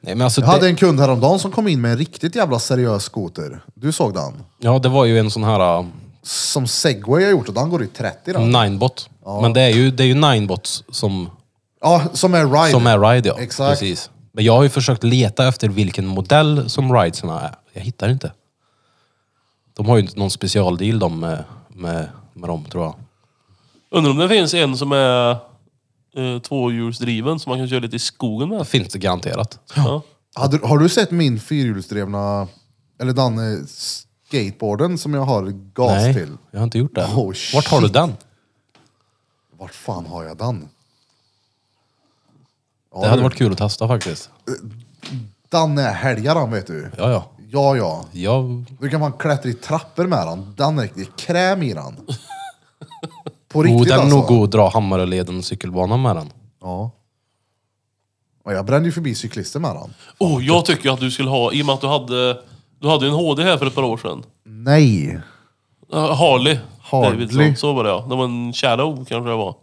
Nej, men alltså Jag hade det, en kund häromdagen som kom in med en riktigt jävla seriös skoter. Du såg den? ja, det var ju en sån här uh, Som segway har gjort och den går i 30 Mm. den. Ninebot. Men det är ju, det är ju Ninebot som, Ja, som är ride. som är Ride ja. Exakt. Precis. Men jag har ju försökt leta efter vilken modell som Ridesarna är. Jag hittar inte. De har ju inte någon specialdeal de med, med, med dem tror jag. Undrar om det finns en som är eh, tvåhjulsdriven som man kan köra lite i skogen med. Finns det garanterat. Ja. Hade, har du sett min fyrhjulsdrivna, eller den eh, skateboarden som jag har gas Nej, till? jag har inte gjort det. Oh, Vart har du shit. den? Vart fan har jag den? Ja, Det hade du, varit kul att testa faktiskt. Den är helgaren vet du. Ja, ja. Ja, ja. Jag, Du kan man klättra i trappor med den. Den är, det är kräm i den. På oh, riktigt den är alltså. nog god att dra Hammaröleden cykelbana med den. Ja. Och jag brände ju förbi cyklister med den. Oh, jag typ. tycker ju att du skulle ha, i och med att du hade, du hade ju en HD här för ett par år sedan. Nej. Eh, Harley. Harley. Davidson, så var det ja. Det var en Shadow kanske det var.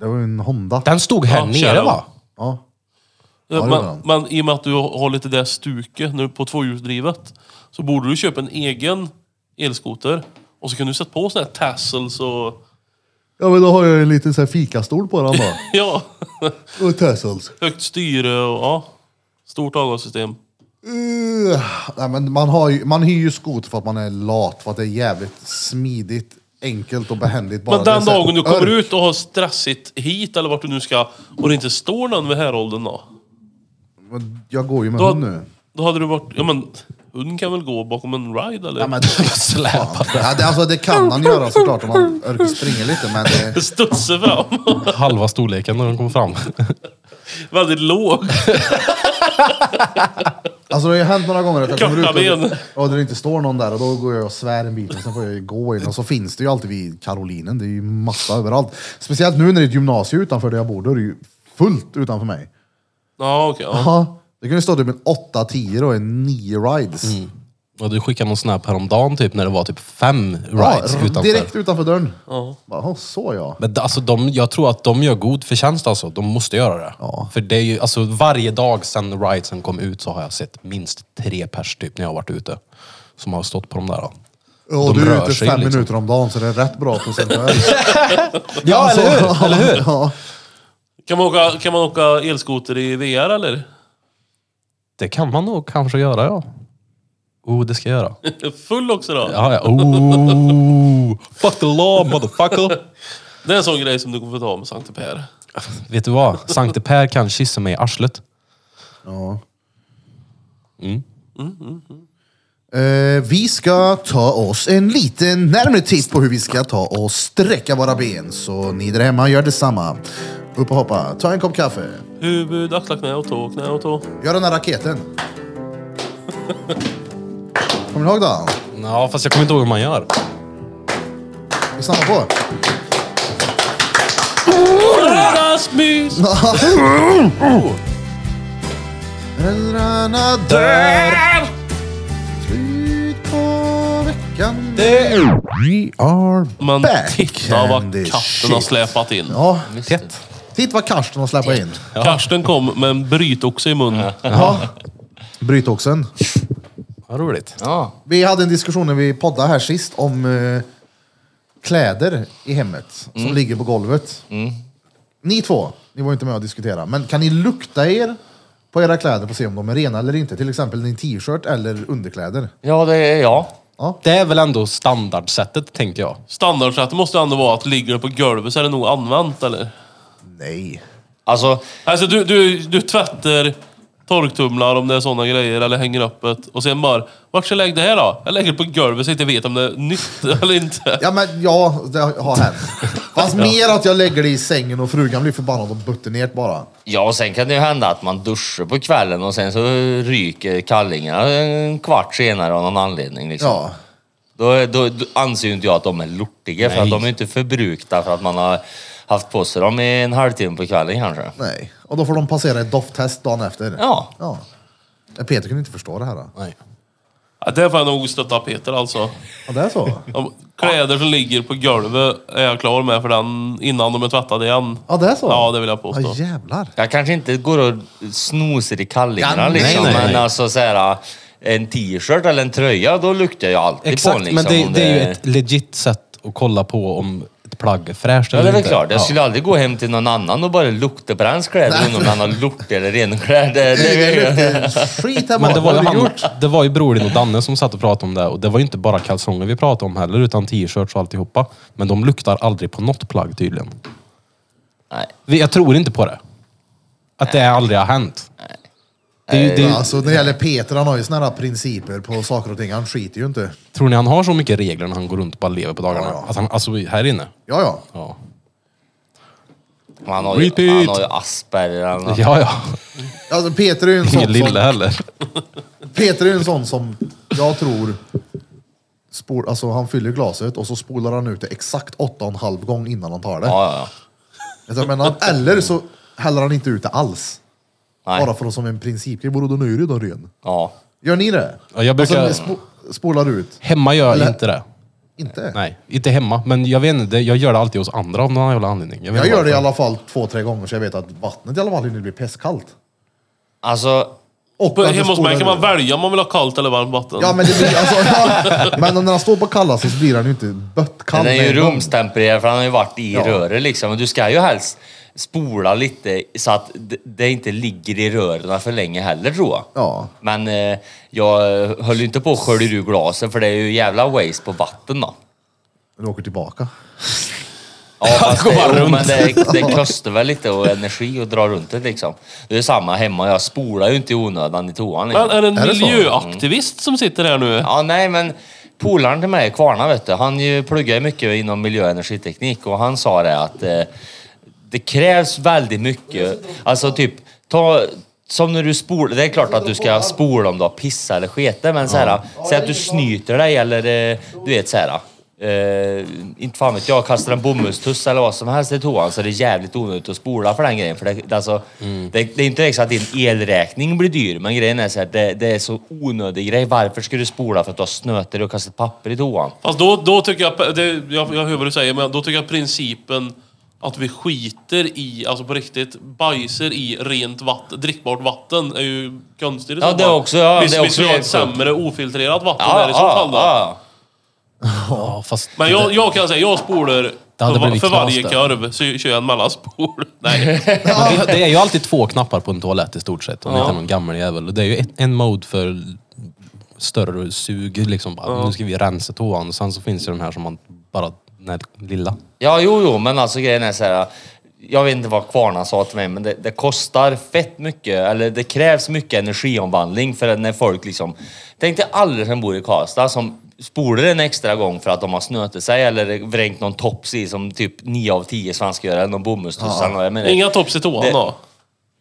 Det var ju en Honda. Den stod här Ja, nere Shadow. va? Ja. det Eh, var den. Men, men i och med att du har lite det stuket nu på tvåhjulsdrivet så borde du köpa en egen elskoter. Och så kan du sätta på såna här tassels och... ja, men då har jag ju en liten sån här fikastol på den då. Ja, Och tassels. högt styre och ja. Stort avgassystem. Uh, nej, men man, har ju, man hyr ju skoter för att man är lat, för att det är jävligt smidigt, enkelt och behändigt. Bara Men den Det är så här dagen du kommer örk. ut och har stressigt hit eller vart du nu ska och det inte står någon vid häråldern då? Men Jag går ju med Då- hund nu. Då hade du varit... Ja men, hunden kan väl gå bakom en ride eller? Ja, men, fan. ja, det, alltså, det kan man göra såklart om man örker springer lite, men det, Studsa fram. Halva storleken när den kom fram. Väldigt låg. alltså, det har ju hänt några gånger att jag kommer Korta ut ben. och, och det inte står någon där och då går jag och svär en bit och sen får jag ju gå in och så finns det ju alltid vid Karolinen. Det är ju massa överallt. Speciellt nu när det är ett gymnasium utanför där jag bor, då är det ju fullt utanför mig. Ja okej. ja. Ja, det kan ju stå typ en 8-10 och en 9 rides. Mm. Och du skickade någon snap häromdagen typ när det var typ fem Ja, rides r- utanför. Direkt utanför dörren. Bara, "Åh, så ja. Men d- alltså, de, jag tror att de gör god förtjänst alltså. De måste göra det. För det är ju, alltså, varje dag sedan ridesen kom ut så har jag sett minst tre pers typ när jag har varit ute. Som har stått på de där. då. Och de du är rör ute sig fem liksom. minuter om dagen så det är rätt bra procentuellt. Ja, eller hur? Eller hur? Ja. Kan, man åka, kan man åka elskoter i VR eller? Det kan man nog kanske göra ja. Oh, det ska jag göra. Full också då? Ja, ja. Oh, fuck the law motherfucker. Det är en sån grej som du kommer få ta med Sankte Per. Vet du vad? Sankte Per kan kyssa mig i arslet. Ja. Mm. Eh, vi ska ta oss en liten närmare titt på hur vi ska ta och sträcka våra ben. Så ni där hemma gör detsamma. Upp och hoppa, ta en kopp kaffe, Huvud, axlar, knä och tå, knä och tå. gör den här raketen. Kommer ni ihåg den? Ja, fast jag kommer inte ihåg hur man gör. Vi stannar på. Rasmus! Föräldrarna dör. Slut på veckan. We are Men back. titta vad and the katten har shit. släpat in. Ja, Tätt. titta vad Karsten har släpat in. Karsten kom med en brytoxe i munnen. Ja. Brytoxen. Vad roligt. Ja. Vi hade en diskussion när vi poddade här sist om eh, kläder i hemmet som ligger på golvet. Ni två, ni var inte med och diskutera, men kan ni lukta er på era kläder och se om de är rena eller inte? Till exempel din t-shirt eller underkläder. Ja, det är jag. Det är väl ändå standardsättet, tänker jag. Standardsättet måste ändå vara att ligger det på golvet så är det nog använt eller? Nej. Alltså, Alltså du, du, du tvättar torktumlar om det är sådana grejer eller hänger upp ett och sen bara vart ska jag lägga det här då? Jag lägger det på golvet så jag inte vet om det är nytt eller inte. Ja, men ja, det har hänt. Fast mer att jag lägger det i sängen och frugan blir förbannad och butter ner det bara. ja, och sen kan det ju hända att man duschar på kvällen och sen så ryker kallingarna en kvart senare av någon anledning. Liksom. Ja. Då, då, då anser ju inte jag att de är lortiga för att de är inte förbrukta för att man har haft på sig dem i en halvtimme på kvällen kanske. Nej. Och då får de passera ett dofttest dagen efter. Ja. ja. Peter kunde inte förstå det här. Då. Nej. Ja, det får jag nog stötta Peter alltså. Ja, det är så? De kläder som ligger på golvet är jag klar med för den innan de är tvättade igen. Ja, det är så? Ja, det vill jag påstå. Ja, jävlar. Jag kanske inte går och snosar i kallingarna Ja, nej, liksom, nej, men nej. alltså så här, en t-shirt eller en tröja, då luktar jag alltid på Exakt, den. Liksom, men det, om det är ju ett legit sätt att kolla på om ett plagg är fräscht Ja, eller det är väl inte. klart. Jag Ja. skulle aldrig gå hem till någon annan och bara lukta på hans kläder, undra om han har lort eller rena kläder. Det, det, Det luktar skit här Men bak. det var, Vad ju har du han, gjort? det var ju bror din och Danne som satt och pratade om det och det var ju inte bara kalsonger vi pratade om heller utan t-shirts och alltihopa. Men de luktar aldrig på något plagg tydligen. nej, Vi- Jag tror inte på det. Att det aldrig har hänt. Det, är ju- det, är ju- Alltså när det gäller Peter, han har ju såna här principer på saker och ting. Han skiter ju inte. tror ni han har så mycket regler när han går runt och bara lever på dagarna? Ja, ja. Att han, alltså här inne? Ja, ja. Ja, han, har ju, Repeat. han har ju Asperger. Han har, ja. ja. Alltså Peter är ju en sån Ingen lille som, heller. Peter är ju en sån som jag tror... Spol, alltså han fyller glaset och så spolar han ut det exakt åtta och en halv gång innan han tar det. ja, ja, Vet du vad jag menar? Eller så häller han inte ut det alls. ja. Nej, Bara för att som en principgrej. Borde då nu redan ren. ja. Gör ni det? Ja, jag brukar- Alltså, spo, spolar ut? Hemma gör jag Eller- inte det. Inte? Nej, inte hemma. Men jag vet inte, det- jag gör det alltid hos andra av någon jävla anledning. vet Jag inte gör det i varför. alla fall två, tre gånger så jag vet att vattnet i alla fall hinner bli pesskallt. Alltså, Och På, att det hemma hos mig spolar kan man ur. välja om man vill ha kallt eller varmt vatten. Ja men, det blir, alltså, ja, men när han står på kallaset så blir han ju inte böttkall. den är ju med en gång. rumstempererad för han har ju varit i Ja. röret liksom. Men du ska ju helst spola lite så att det- det inte ligger i rören för länge heller tror jag. Ja. Men eh, jag höll ju inte på att skölja ur glasen för det är ju jävla waste på vatten då. Du åker tillbaka. Ja, fast det, jo, men det, det kostar väl lite och energi att dra runt det liksom. Det är samma hemma, jag spolar ju inte i onödan i toan. Men är Liksom. det en Är det så? miljöaktivist som sitter här nu? Ja, nej men polaren till mig, Kvarna vet du, han ju pluggar ju mycket inom miljö och energiteknik och han sa det att eh, det krävs väldigt mycket, alltså typ ta som när du spolar, det är klart att du ska spola om du har pissat eller skete men så här, säg att du snyter dig eller eh, du vet så här. eh, inte fan vet jag, kastar en bomullstuss eller vad som helst i toan så det är jävligt onödigt att spola för den grejen. För det, alltså, det, det är inte liksom att din elräkning blir dyr men grejen är så här, det, det är så onödig grej. Varför ska du spola för att du har snöter och kastat papper i toan? Fast då, då tycker jag, det, jag, jag hör vad du säger, men då tycker jag principen att vi skiter i, alltså på riktigt, bajser i rent vatten, drickbart vatten är ju konstigt i Ja, så det fall. också, ja, Visst, det är visst också vi har ett helt sjukt. sämre ofiltrerat vatten här i så fall då. ja. Ja, fast Men jag, jag kan säga, jag spolar Det hade för, va- blivit för knas varje där. korv så kör jag en mellanspol. Nej. Men det, det är ju alltid två knappar på en toalett i stort sett, om det inte är någon gammal jävel. Och Det är ju ett, en mode för större sug, liksom. Bara, Nu ska vi rensa toan. Och sen så finns ju den här som man bara, den här lilla. Ja, jo, jo, men alltså grejen är så här. Jag vet inte vad Kvarna sa till mig, men det, det kostar fett mycket, eller det krävs mycket energiomvandling för att när folk liksom... Tänk dig alla som bor i Karlstad som spolar en extra gång för att de har snötit sig eller vrängt någon tops i som typ 9 av 10 svenskar gör, eller någon bomullstuss eller vad Inga tops i toan Det- då?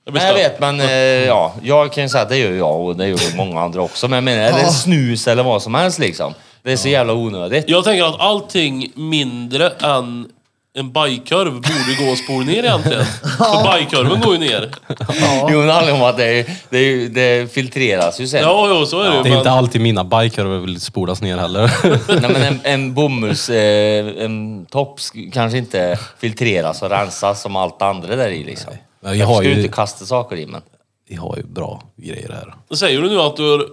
Jag blir Nej, jag stött. vet, men eh, ja, jag kan ju säga att det gör jag och det gör ju många andra också. Men jag menar, är det snus eller vad som helst liksom? Det är så jävla onödigt. Jag tänker att allting mindre än en bajkorv borde gå och spola ner egentligen. För bajkorven går ju ner. Jo, men det handlar om att det, är- det, är- det filtreras ju sen. Ja, jo, så är det ju. Det är inte men- alltid mina bajkorvar vill spolas ner heller. Nej men en, en bomulls... Eh, en tops kanske inte filtreras och rensas som allt andra där i liksom. Men jag Jag har ska ju ju, inte kasta saker i men... vi har ju bra grejer här. Säger du nu att du har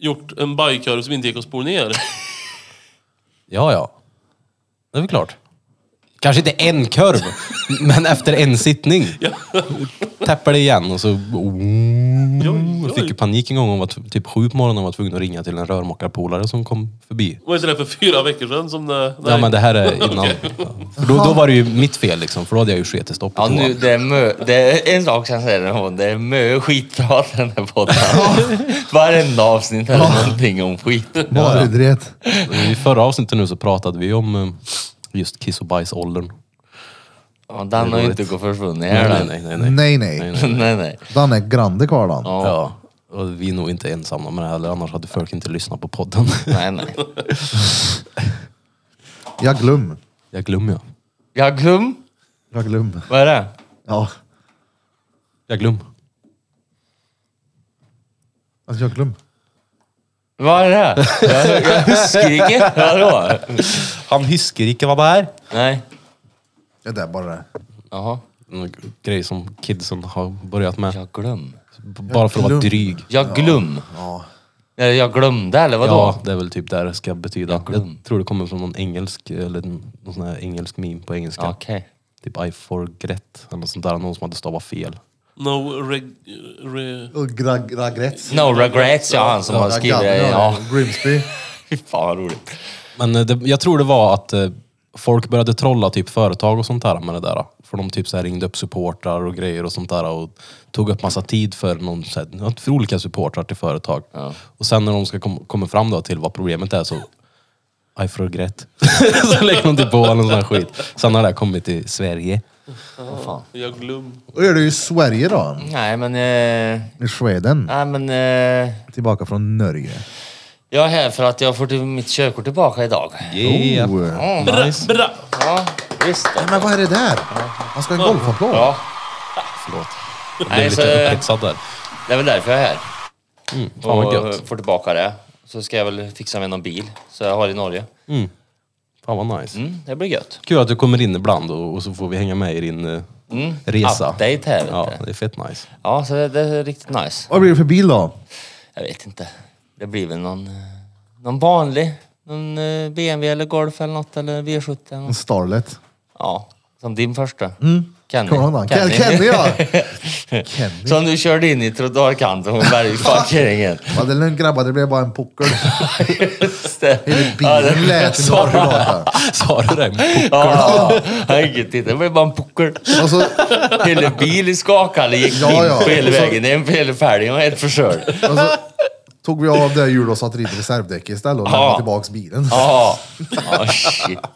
gjort en bajkorv som inte gick att spola ner? Ja, ja. Det är väl klart. Kanske inte en korv, men efter en sittning. Täpper det igen och så... Jag fick ju panik en gång, hon var t- typ sju på morgonen och var tvungen att ringa till en rörmokarpolare som kom förbi. Var inte det för fyra veckor sedan som det... Nej. Ja men det här är innan. För då, då var det ju mitt fel liksom, för då hade jag ju sket i stopp Ja nu, det är mö... Det är en sak kan jag säga Ramon, det är mö skitprat i den här podden. Varenda avsnitt är det någonting om skit. Bara dret. I förra avsnittet nu så pratade vi om eh, just kiss och bajsåldern. Ja, den har ju inte gått försvunnit här. Nej, den. nej, nej. nej. Nej, nej. nej, nej. Den är grande kvar den. Ja. Och vi är nog inte ensamma med det heller, annars hade folk inte lyssnat på podden. nej, nej. Jag glöm. Jag glömmer jag. Jag glöm. Jag glöm. Vad är det? Ja. Jag glöm. Alltså jag glöm. Vad är det? Jag, jag husker inte. Vadå? Han husker ikke hva det er. Nej. Det där bara. Jaha. En grej som kidsen har börjat med. Jag glöm. Bara för att vara glömde. dryg. Jag glöm. Ja. Eller jag glömde eller vadå? Ja, det är väl typ där det ska betyda. glöm. Jag tror det kommer från någon engelsk, eller någon sån här engelsk meme på engelska. Okej. Typ I forget, eller något sånt där. Någon som hade stavat fel. No reg... Re, Och gra- Gragrets. No regrets, ja han som har skrivit det. Ja. Grimsby. Fy fan vad roligt. Men eh, det, jag tror det var att eh, folk började trolla typ företag och sånt där med det där. För de typ så här ringde upp supportrar och grejer och sånt där och tog upp massa tid för, någon, så här, för olika supportrar till företag. Och sen när de ska kom, komma fram då till vad problemet är så I forget. så lägger de typ på eller sån här skit. Sen har det här kommit till Sverige. Vad fan. jag glöm. Och är det ju Sverige då. Nej men... Eh, I Sweden. nej men... Eh, Tillbaka från Norge. jag är här för att jag får till mitt körkort tillbaka idag. Yeah. Oh. Nice. Bra! Ja, visst. Men vad är det där? Man ska ha en golfapplåd. Ja, Förlåt. Jag Nej, blev så- eh, lite upphetsad där. det är väl därför jag är här. Fan vad och gött. får tillbaka det. Så ska jag väl fixa med någon bil, så jag har i Norge. Mm. Fan vad nice. Mm, det blir gött. Kul att du kommer in ibland och, och så får vi hänga med i din eh, resa. Update här. vet Ja, du. det är fett nice. ja så det, det är riktigt nice. Vad blir det för bil då? Jag vet inte. Det blir väl någon, eh, någon vanlig. Någon eh, BMW eller Golf eller något, eller V70 eller En något. Starlet. Ja, som din första. Kenny. Kommer du ihåg den? Ken- Kenny ja! Kenny. Som du körde in i trottoarkanten på bergsparkeringen. Ja, det är lugnt grabbar, det blev bara en puckel. Just det. Ja, det- Bilen lät i norr idag. Sa du det? Ja, ja, inget titta. Det blev bara en puckel. Och så, Hela bilen skakade, gick Ja, ja. in på hela Och så- vägen hem på hela fälgen och helt förstörd. och så tog vi av det hjulet och satte dit reservdäck istället och lämnade Ja. tillbaks bilen. Ja, ja shit.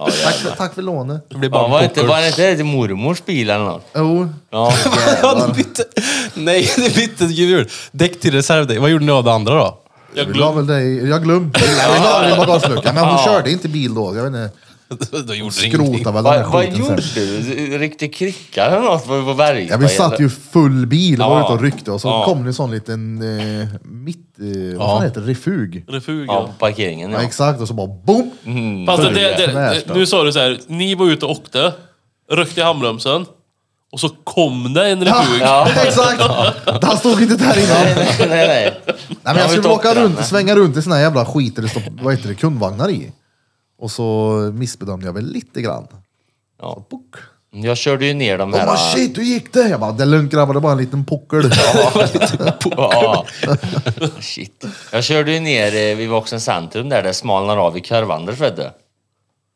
Ja, Tack, jävlar. för- tack för lånet. Det blir bara ja, en var, inte, puckel. var det inte till mormors bil eller något? Jo. Ja. Ja, du bytte... Nej, du bytte hjul. Däck till reservdäck. Vad gjorde ni av det andra då? Jag Vi la glöm. väl dig... Jag glömde. Vi la den i bagageluckan, men hon körde inte bil då. Jag vet inte. Då gjorde ni ingenting. Skrotade väl den Vad, här vad skiten sen. gjorde du? Ryckte kryckan eller något på, på berget? Ja, vi satt ju full bil och var Ja. ute och ryckte och så Ja. kom det en sån liten eh, mitt... Eh, vad fan heter det? Refug. Refug, Ja, ja. på parkeringen Ja. ja. exakt, och så bara boom! Fast det, Börja. det, det, Nästa. nu sa du så här, ni var ute och åkte, rökte i handbromsen och så kom det en refug. Ja. Exakt! Han stod inte där nej, innan. nej, nej. Nej, men jag vi skulle tog åka den. runt, svänga runt i såna här jävla skiter det står vad heter det, kundvagnar i. Och så missbedömde jag väl lite grann. Ja. Puck. Jag körde ju ner de De här... bara Oh, shit, hur gick det? Jag bara, det är lugnt grabbar, det är bara en liten puckel. Ja. Shit. Jag körde ju ner eh, vid Voxen centrum där det smalnar av i kurvan, vet du.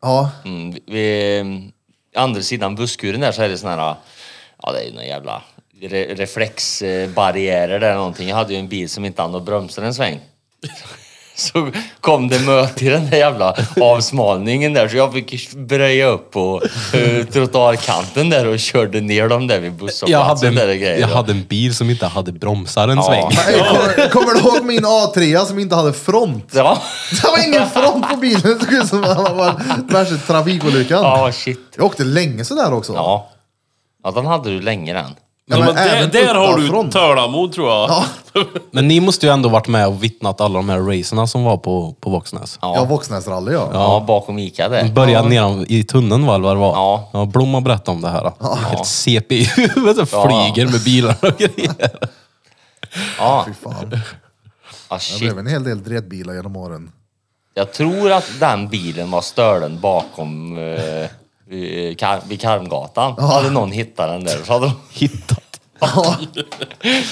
Ja, Mm, vid eh, andra sidan busskuren där så är det såna här, ja det är ju några jävla re reflexbarriärer där någonting. Jag hade ju en bil som inte hann att bromsa en sväng. Så kom det möte i den där jävla avsmalningen där så jag fick bröja upp på eh, trottoarkanten där och körde ner dem där vid Jag hade, busshållplatsen. där och en, grejer. jag hade en bil som inte hade bromsar en sväng. Hey, kommer, kommer du ihåg min A3 som inte hade front? Ja, Det var ingen front på bilen, det såg ut som att det var värsta trafikolyckan. ja shit. Jag åkte länge sådär också. Ja. ja, den hade du länge den. Ja, men där, även där har du utanför. tålamod tror jag. Ja. Men ni måste ju ändå varit med och vittnat alla de här racerna som var på, på Våxnäs. Ja, Våxnäsrally ja. Ja, bakom Ica där. Började nedan i tunneln va, eller vad det var? Ja. ja Blom har berättat om det här. Helt CP i huvudet. Ja. Flyger med bilar och grejer. Ja, Fy fan. ah, Det shit. blev en hel del dretbilar genom åren. Jag tror att den bilen var stölen bakom eh, vid Kar- vid Karmgatan. Hade någon hittat den där så hade de... Hittat.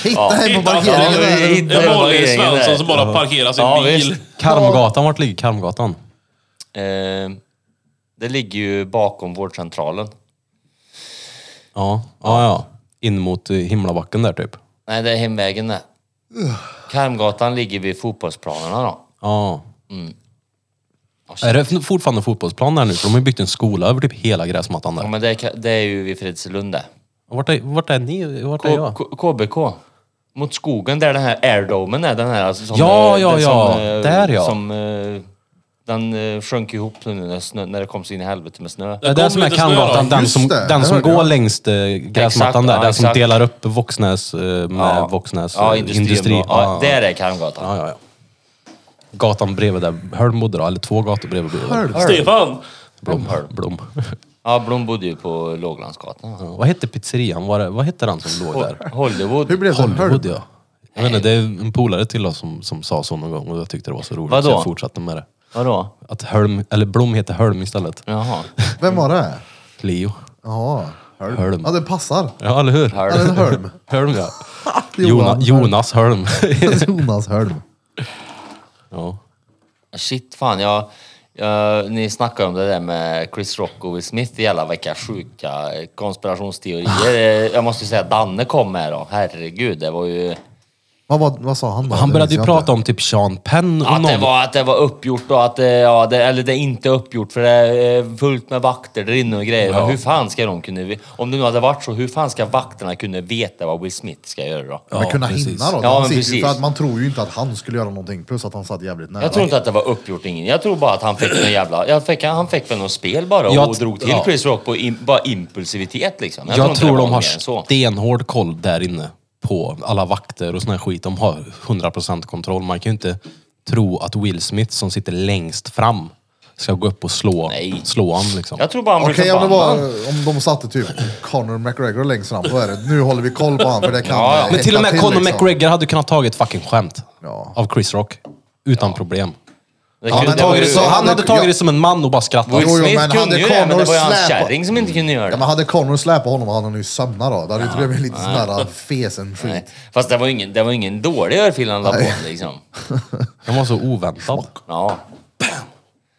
Hitta hem på Hitta- parkeringen! Ja, vi där. hittade- En vanlig Parkeringen där. Svensson som bara parkerar sin Ja, bil. visst. Karmgatan, vart ligger Karmgatan? Eh, det ligger ju bakom vårdcentralen. Ja, ja, ja. In mot eh, Himlabacken där typ. Nej, det är hemvägen det. Karmgatan ligger vid fotbollsplanerna då. Ja. Mm. Är det f- fortfarande fotbollsplan där nu? För de har ju byggt en skola över typ hela gräsmattan Ja, där. men det, är ka- det är ju vid Fredselund det. Vart är, vart är ni? Vart är K- jag? K- KBK. Mot skogen där den här airdomen är. Den här alltså som, Ja, eh, ja, den ja. Som, eh, Där, ja. Som, eh, den eh, sjönk ihop nu när, snö, när det kom så in i helvete med snö. Det är det som är kommer lite snö Karmgatan, då. den Just som, det, den det som hörde går jag. längst eh, gräsmattan Exakt, där. ja, den som exakt. delar upp Våxnäs eh, med Ja. Våxnäs ja, eh, industri. industri. Ja, där är Karmgatan. ja, ja, ja. Gatan bredvid där Hölm bodde då, eller två gator bredvid. bredvid. Hölm? Stefan! Blom. Blom. Ja, Blom bodde ju på Låglandsgatan. Vad hette pizzerian? Var det, vad hette den som låg där? Hur Hollywood. blev det? Hollywood Hölm? ja. Jag vet inte, det är en polare till oss som, som sa så någon gång och jag tyckte det var så roligt Vadå? så jag fortsatte med det. Vadå? Att Hölm, eller Blom heter Hölm istället. Jaha. Vem var det? Leo. Jaha, Hölm. Hölm. Ja, det passar. Ja, eller hur? Ja, det är Hölm. Hölm ja. Jona, Johan Jonas Hölm. Hölm. Jonas Hölm. ja. Shit fan, jag, jag, ni snackade om det där med Chris Rock och Will Smith i alla vilka sjuka konspirationsteorier. Eh, Jag måste ju säga att Danne kom med då. Herregud, det var ju... Vad, var, vad sa han då? Han Det började ju minns jag prata om typ Sean Penn och Att det, någon. var, att det var uppgjort och att det, ja, det, eller det är inte uppgjort för det är eh, fullt med vakter där inne och grejer. Ja. Hur fan ska de kunna... ve- Om det nu hade varit så, hur fan ska vakterna kunna veta vad Will Smith ska göra då? inte. Men Ja, kunna precis. hinna då? Ja, Han men sitter ju- precis. För att man tror ju inte att han skulle göra någonting, plus att han satt jävligt nära. Jag tror inte att det var uppgjort ingen. Jag tror bara att han fick en jävla... Jag fick, han fick väl något spel bara och Jag- drog till ja. Chris Rock på im, bara impulsivitet liksom. Jag, inte tror det var de har mer än så. stenhård koll där inne på alla vakter och sån här skit. De har 100% kontroll. Man kan ju inte tro att Will Smith som sitter längst fram ska gå upp och slå, Nej. slå han liksom. Jag tror bara han blev Okej, om, det förbannad. var, om de satte typ Conor McGregor längst fram, då är det nu håller vi koll på han för det kan Ja, ja. eh, Men till och med hetta Conor liksom. McGregor hade kunnat tagit fucking skämt Ja. av Chris Rock. Utan problem. Det Han kunde- hade, men det var tagit det, ju- så, han hade det- tagit ja. det som en man och bara skrattat. Will Jo, jo, Smith men kunde hade ju det, men det var ju hans Connor släpat- kärring som inte kunde göra Ja, det. men hade Conor släpat honom hade han ju sömnat då. Det hade ju inte blivit lite sån där fesen Nej. skit. Fast det var ju ingen, det var ingen dålig örfil han la på liksom. Den var så oväntad. Ja.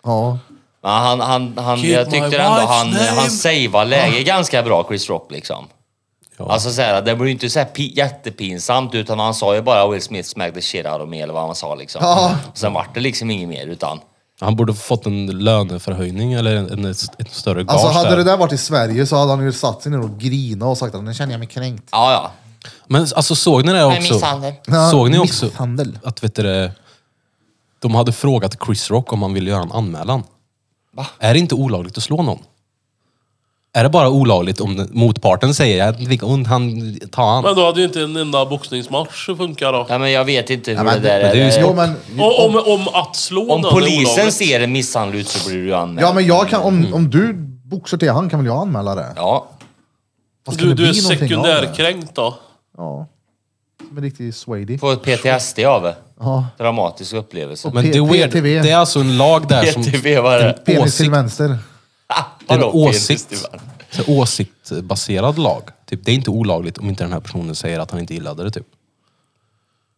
Ja. Men han, han, han, Keep jag my tyckte ändå wife's han, name. han saveade läget ganska bra, Chris Rock liksom. Alltså så här, det blev ju inte så här pi- jättepinsamt utan han sa ju bara Will Smith smack the shit out of me eller vad han sa liksom. Ja. Sen vart det liksom inget mer utan. Han borde fått en löneförhöjning eller en, en, ett större gage Alltså hade där. det där varit i Sverige så hade han ju satt sig ner och grina och sagt att nu känner jag mig kränkt. Ja, ja. Men alltså såg ni det Nej, också? misshandel. Ja, Såg ni också misshandel. att vet du, det, de hade frågat Chris Rock om han ville göra en anmälan? Va? Är det inte olagligt att slå någon? Är det bara olagligt om den- motparten säger att vilka ont han tar han? Men då hade ju inte en enda boxningsmatch funkat då. Nej, men jag vet inte hur Ja, det där men det är ju är. jo, men, Och om, om att slå Om någon är polisen olagligt. ser en misshandel ut så blir du ju anmäld. ja, men jag kan, Mm. om, om du boxar till han kan väl jag anmäla det? Ja. Fast kan Du, det du är bli någonting av det? sekundärkränkt då. Ja. Som en riktig swady. Få ett PTSD av det. Ja. Dramatisk upplevelse. Men P- det, är weird, PTV. det är alltså en lag där som... PTV var det. en Penis till åsikt, vänster. det är en Vadå, åsikt, PTSD? så åsiktbaserad lag. Typ, det är inte olagligt om inte den här personen säger att han inte gillade det. Typ.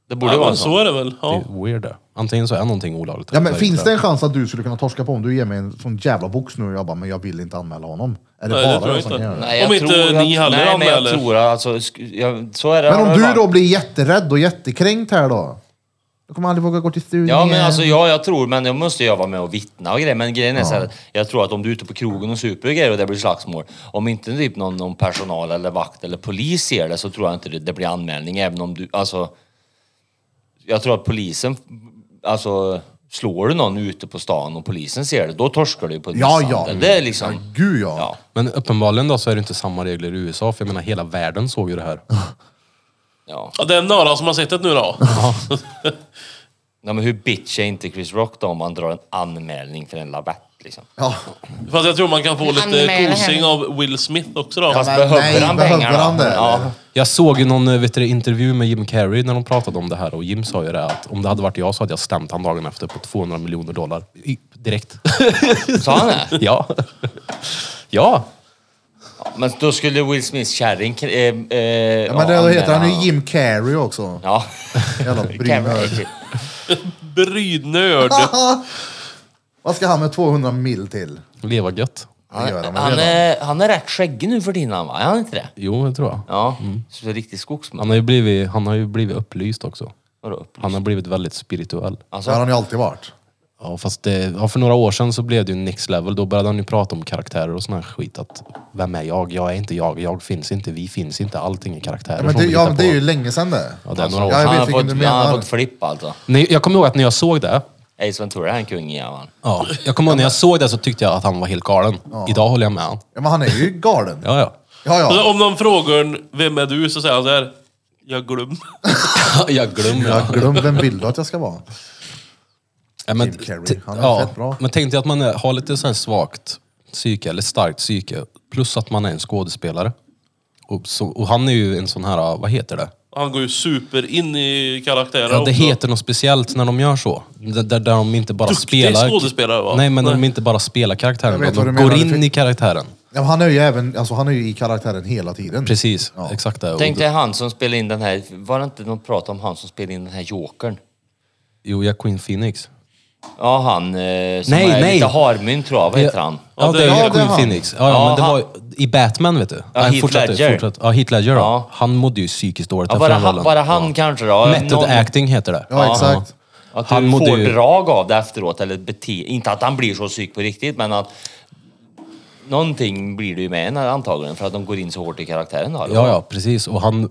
Det borde Ja, vara men så. så är det väl. Det Ja. är weird det. Antingen så är någonting olagligt. Ja, eller men så är finns det det en chans att du skulle kunna torska på om du ger mig en sån jävla box nu och jag bara, men jag vill inte anmäla honom? Är det Nej, bara det tror jag jag som kan inte. göra det? Nej, jag Om inte tror att- ni heller Nej, men jag anmäler. tror att, alltså, sk- jag, så är det. Men om har du det då varit. blir jätterädd och jättekränkt här då? Då kommer jag aldrig våga gå till studion Ja, men igen. alltså ja, jag tror, men jag måste ju vara med och vittna och grejer. Men grejen är så här, jag tror att om du är ute på krogen och super och grejer och det blir slagsmål, om inte typ någon, någon personal eller vakt eller polis ser det så tror jag inte det, det blir anmälning, även om du, alltså. Jag tror att polisen, alltså, slår du någon ute på stan och polisen ser det, då torskar du ju på Ja, ja. misshandel. Det är liksom, Ja, Gud ja. ja. Men uppenbarligen då så är det inte samma regler i USA, för jag menar hela världen såg ju det här. ja. Ja, det är några som har sett det nu då. Nej, men hur bitch är inte Chris Rock då om han drar en anmälning för en lavett liksom? Ja. Fast jag tror man kan få lite Anmäla kosing henne. av Will Smith också då. Fast men behöver nej, han behöver pengarna? han det, Ja. eller? Jag såg ju någon eh, vet du, intervju med Jim Carrey när de pratade om det här och Jim sa ju det att om det hade varit jag så hade jag stämt han dagen efter på 200 miljoner dollar. I, direkt. Sa han det? ja. ja. Men då skulle Will Smiths kärring... Eh, eh, Ja, men det, då heter han ju Jim Carrey också. Ja. Jävla brynörd. Brynörd. Vad ska han med 200 mil till? Leva gött. Det gör han väl Han redan. är, han är rätt skäggig nu för tiden, han, va? Är han inte det? Jo, det tror jag. Ja. Mm. Så det är riktigt skogsman. Han har ju blivit, han har ju blivit upplyst också. Vadå upp? Han har blivit väldigt spirituell. Det har Alltså, han ju alltid varit. Ja, fast det, ja, för några år sedan så blev det ju next level. Då började han ju prata om karaktärer och sån här skit. Att, vem är jag? Jag är inte jag. Jag finns inte. Vi finns inte. Allting är karaktärer Ja, men som det, vi ja, hittar men det är på. ju länge sedan det. Ja, det är några år Ja, jag sedan. han, vet vilken har fått, du han menar. har fått flipp alltså. Nej, Jag kommer ihåg att när jag såg det, Ace Ventura är en kung igen, va? ja, jag kommer ihåg när jag såg det så tyckte jag att han var helt galen. Idag håller jag med han. Ja, men han är ju galen. Ja, Ja, ja. ja. Alltså, Om någon frågar vem är du så säger han så här. Jag glöm. Jag glömmer. Jag glömde vem vill du att jag ska vara? Ja, men, Jim Carrey. t- Han är ja, fett bra. Men tänk dig att man är, har lite så här svagt psyke, eller starkt psyke, plus att man är en skådespelare. Och, så, och han är ju en sån här, vad heter det? Han går ju super in i karaktären Ja, det också. heter något speciellt när de gör så. Där, där där de inte bara Duktig spelar... skådespelare, va? Nej, men när Nej. de inte bara spelar karaktären, Jag vet utan vad de du går menar. in i karaktären. Ja, men han är ju även, alltså han är ju i karaktären hela tiden. Precis, Ja. exakt det. Och Tänk det- dig han som spelade in den här, var det inte någon prat om han som spelade in den här jokern? Jo, jag Queen Phoenix. Ja, han eh, som Nej, är nej. lite harmynt tror jag. Vad heter han? Ja, det Ja, det är ja, är Queen han. Phoenix. Ja, ja, Ja, men det han- var i Batman, vet du. Nej, Heath fortsätt, Ledger. fortsätt. Ja, Heath Ledger. Ja. Ja. Han mådde ju psykiskt dåligt Ja, efter bara, den han, rollen. bara han kanske då? Method Någon- acting heter det. Ja, exakt. Att Han du mådde får ju- drag av det efteråt, eller bete... Inte att han blir så psyk på riktigt, men att... Någonting blir det ju med en antagligen, för att de går in så hårt i karaktären. Då, Ja, ja, precis. Och han,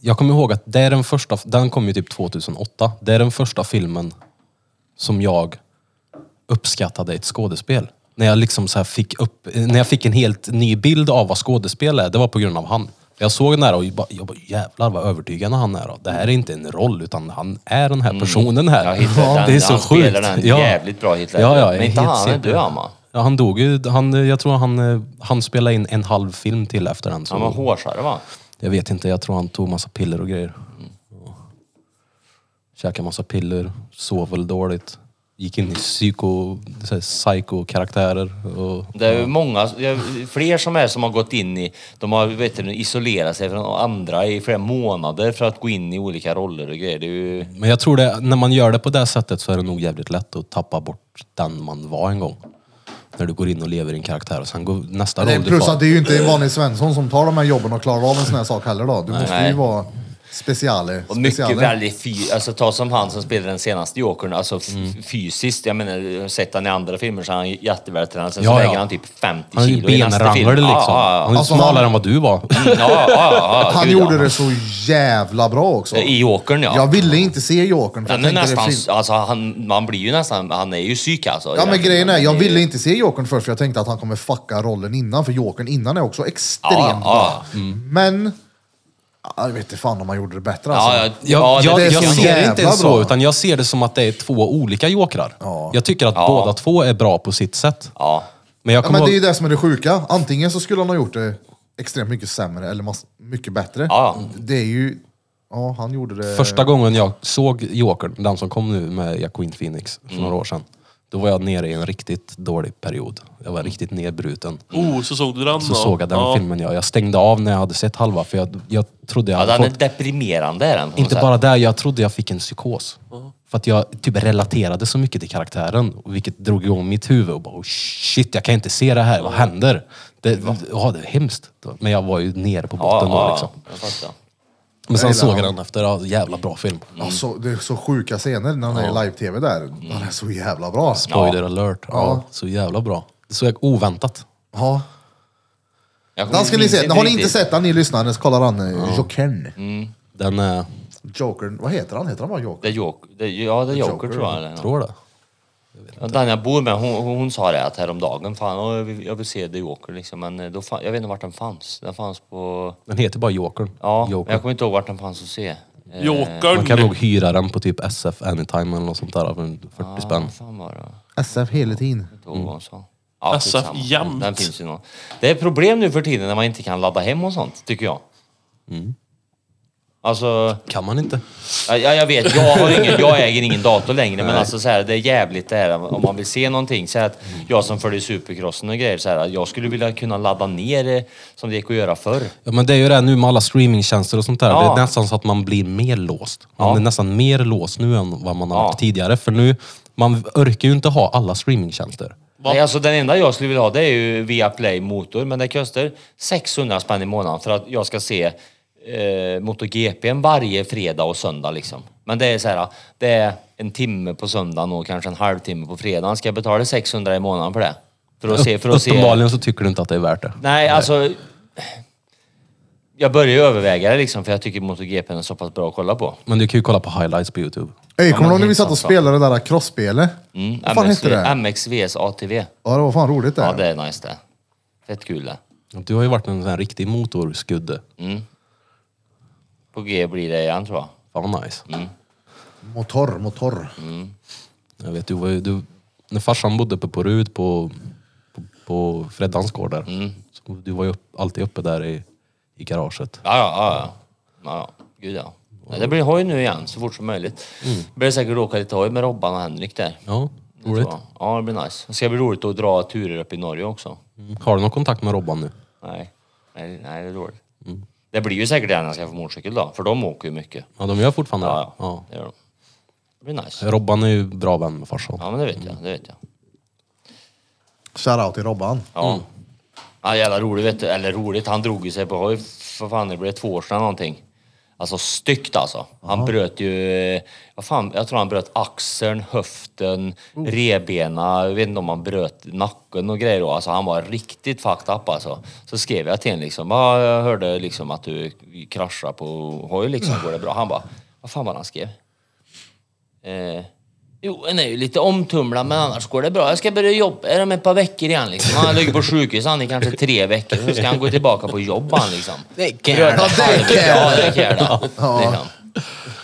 jag kommer ihåg att det är den första, den kom ju typ 2008. Det är den första filmen som jag uppskattade ett skådespel. När jag liksom så här fick upp, när jag fick en helt ny bild av vad skådespel är, det var på grund av han. Jag såg den här och jag bara, jag bara jävlar vad övertygande han är. då. Det här är inte en roll utan han är den här personen här. Mm. Ja, Hitler, den, det är så han sjukt. spelar den jävligt bra Hitler. Ja, ja, men inte helt han, är simpel. död han va? Ja, han dog ju. Han, jag tror han, eh, han spelade in en halv film till efter den. Så Han var hårsare va? jag vet inte, jag tror han tog massa piller och grejer. Ja. Käkade massa piller, sov väl dåligt. Gick in i psyko, så här psyko-karaktärer. Och, Det är ju många, det är fler som är som har gått in i, de har vet du, isolerat sig från andra i flera månader för att gå in i olika roller och grejer. Det är ju, Men jag tror det, när man gör det på det sättet så är det nog jävligt lätt att tappa bort den man var en gång. När du går in och lever i en karaktär och sen går nästa Det är roll du plus att får. det är ju inte en vanlig Svensson som tar de här jobben och klarar av en sån här sak heller då. Du måste ju Nej. vara speciale. och mycket speciale. väldigt fy, alltså ta som han som spelade den senaste Jokern, alltså f- Mm. fysiskt, jag menar, jag har sett han i andra filmer så är han jättevältränad, sen så Ja, ja. väger han typ 50 Han är ju kilo i nästa film. benrangler liksom. Ja, Han är ja, ju Alltså, smalare han- än vad du var. ja. ja, ja, ja, Han gud, ja. gjorde det så jävla bra också. I Jokern ja. Jag ville inte se Jokern. för jag Den är tänkte det nästan, fin- alltså han, man blir ju nästan, han är ju psyk alltså. Ja men Egentligen. grejen är, Han jag ju- ville inte se Jokern först för jag tänkte att han kommer fucka rollen innan, för Jokern innan är också extremt Ja, bra. ja. Mm. Men, ja, jag vet inte fan om han gjorde det bättre alltså. Ja, ja, Jag, ja, jag, det är jag så ser det jävla inte ens så, bra. utan jag ser det som att det är två olika jokrar. Ja. Jag tycker att Ja. båda två är bra på sitt sätt. Ja. Men jag Ja, kommer men det är ju ihåg, det som är det sjuka. Antingen så skulle han ha gjort det extremt mycket sämre eller mass- mycket bättre. Ja. Det är ju... Ja, han gjorde det... första gången jag såg Jokern, den som kom nu med Jacqueline Phoenix Mm. för några år sedan. Då var jag nere i en riktigt dålig period. Jag Mm. var riktigt nedbruten. Oh, så såg du den Så såg jag den filmen. Jag, jag stängde av när jag hade sett halva för jag, jag trodde jag Ja, hade den är liksom fått... deprimerande är den. på något Inte sätt. bara det, jag trodde jag fick en psykos. För att jag typ relaterade så mycket till karaktären, vilket drog igång mitt huvud. Och bara, oh shit, jag kan inte se det här, vad händer? Det, ja, det är hemskt. Men jag var ju nere på Ja, botten ja, då ja. liksom. Jag fattar. Men sen Jag gillar såg jag den. den efter, ja, jävla bra film. Alltså, det är så sjuka scener när han är i live-tv där. Han är så jävla bra. Spoiler alert. Ja. så jävla bra. Det såg jag oväntat. Ja. Jag kommer Den ska ni minns se. Har ni inte riktigt. sett den, ni lyssnare, så kollar han eh, Jokern. Den eh, är, Jokern. Vad heter han? Heter han bara Joker? Det är Joker, det, ja, det är Joker, Joker, tror jag. Eller? tror det. Ja, Den jag bor med, hon, hon hon sa det att häromdagen, fan, åh, jag, vill, jag vill se The Joker liksom, men eh, då fan, jag vet inte vart den fanns. Den fanns på... Den heter bara Jokern. Ja, men Joker. jag kommer inte ihåg vart den fanns att se. Eh, Man kan nog Jokern. hyra den på typ SF Anytime eller något sånt där för en 40 spänn. vad fan var det? Jag SF hela tiden. kommer inte ihåg vad hon sa. Ja, Alltså, skitsamma. jämt. Den finns ju någon. Det är problem nu för tiden när man inte kan ladda hem och sånt, tycker jag. Alltså... Kan man inte? Ja, ja, jag vet, jag, har ingen, jag äger ingen dator längre men alltså så här, det är jävligt det här om man vill se någonting. Så här, att jag som följer Supercrossen och grejer, så här, att jag skulle vilja kunna ladda ner det som det gick att göra förr. Ja men det är ju det nu med alla streamingtjänster och sånt där. Ja. Det är nästan så att man blir mer låst. Man Ja. är nästan mer låst nu än vad man har Ja. varit tidigare. För nu, man orkar ju inte ha alla streamingtjänster. Va? Nej, alltså, den enda jag skulle vilja ha det är ju Viaplay Motor men det kostar 600 spänn i månaden för att jag ska se eh, MotoGP varje fredag och söndag liksom. Men det är så här, det är en timme på söndagen och kanske en halvtimme på fredagen. Ska jag betala 600 i månaden för det? För att se, för att se. Uppenbarligen så tycker du inte att det är värt det. Nej, alltså... Jag börjar ju överväga det liksom, för jag tycker MotoGP är så pass bra att kolla på. Men du kan ju kolla på highlights på Youtube. Ey, kommer men du ihåg när vi helt satt och sant, spelade det där crossspelet? Mm, Vad fan hette det? MXVs ATV. Ja, det var fan roligt Ja, det. det är nice det. Fett kul det. Du har ju varit en sån här riktig motorskudde. På G blir det igen tror jag. Fan vad nice. Motor, motor. Jag vet, du var ju, du, när farsan bodde uppe på Rud på, på, på Freddans gård där. Mm. Så du var ju upp, alltid uppe där i, i garaget. Ja, ja, ja. ja. ja, ja. Gud ja. Ja, Det blir hoj nu igen så fort som möjligt. Blir säkert åka lite hoj med Robban och Henrik där. Ja, roligt. Så, ja, det blir nice. Det ska bli roligt att dra turer upp i Norge också. Mm. Har du någon kontakt med Robban nu? Nej, nej, nej det är dåligt. Det blir ju säkert det när jag ska få motorcykel då, för de åker ju mycket. Ja, de gör fortfarande Ja, det. ja. Ja. Det, gör de. det blir nice. Robban är ju bra vän med farsan. Ja, men det vet jag. Det vet jag. Shoutout till Robban. Ja. ja jävla roligt vet du. Eller roligt, han drog ju sig på hoj för fan det blev två år sedan någonting. Alltså styggt alltså. Han bröt ju, eh, vad fan, jag tror han bröt axeln, höften, revbena, jag vet inte om han bröt nacken och grejer då. Alltså han var riktigt fucked up alltså. Så skrev jag till honom liksom, ja, jag hörde liksom att du kraschade på hoj liksom, går det bra? Han bara, vad fan var det han skrev? Eh, jo, den är ju lite omtumlad men annars går det bra. Jag ska börja jobba här om ett par veckor igen liksom. Han ligger på sjukhus han i kanske tre veckor. Så ska han gå tillbaka på jobb han liksom. Det kan jag. Ja, det kan jag. Liksom.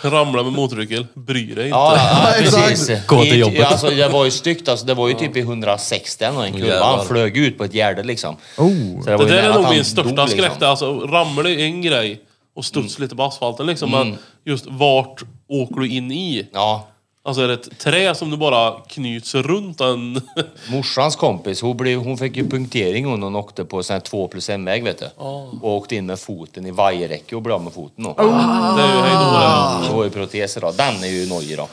Ramla med motorcykel, bry dig inte. Ja, ja, Ja, exakt. precis. Gå till I- jobbet. Alltså, det var ju styggt alltså. Det var ju typ i 160 eller en kurva. Jävlar. Han flög ut på ett gärde liksom. Oh. Så Det, var ju där nära är att nog han min största dog, liksom. skräck. Alltså, ramlar är en grej och Mm. studs lite på asfalten liksom. Men just vart åker du in i? Ja. Alltså är det ett trä som du bara knyts runt en... Morsans kompis, hon, blev, hon fick ju punktering hon, hon åkte på sån här 2 plus 1 väg vet du. Och åkte in med foten i vajerräcke och blev av med foten då. Det är ju hejdå det. Så var ju proteser då. Den är ju nojig då.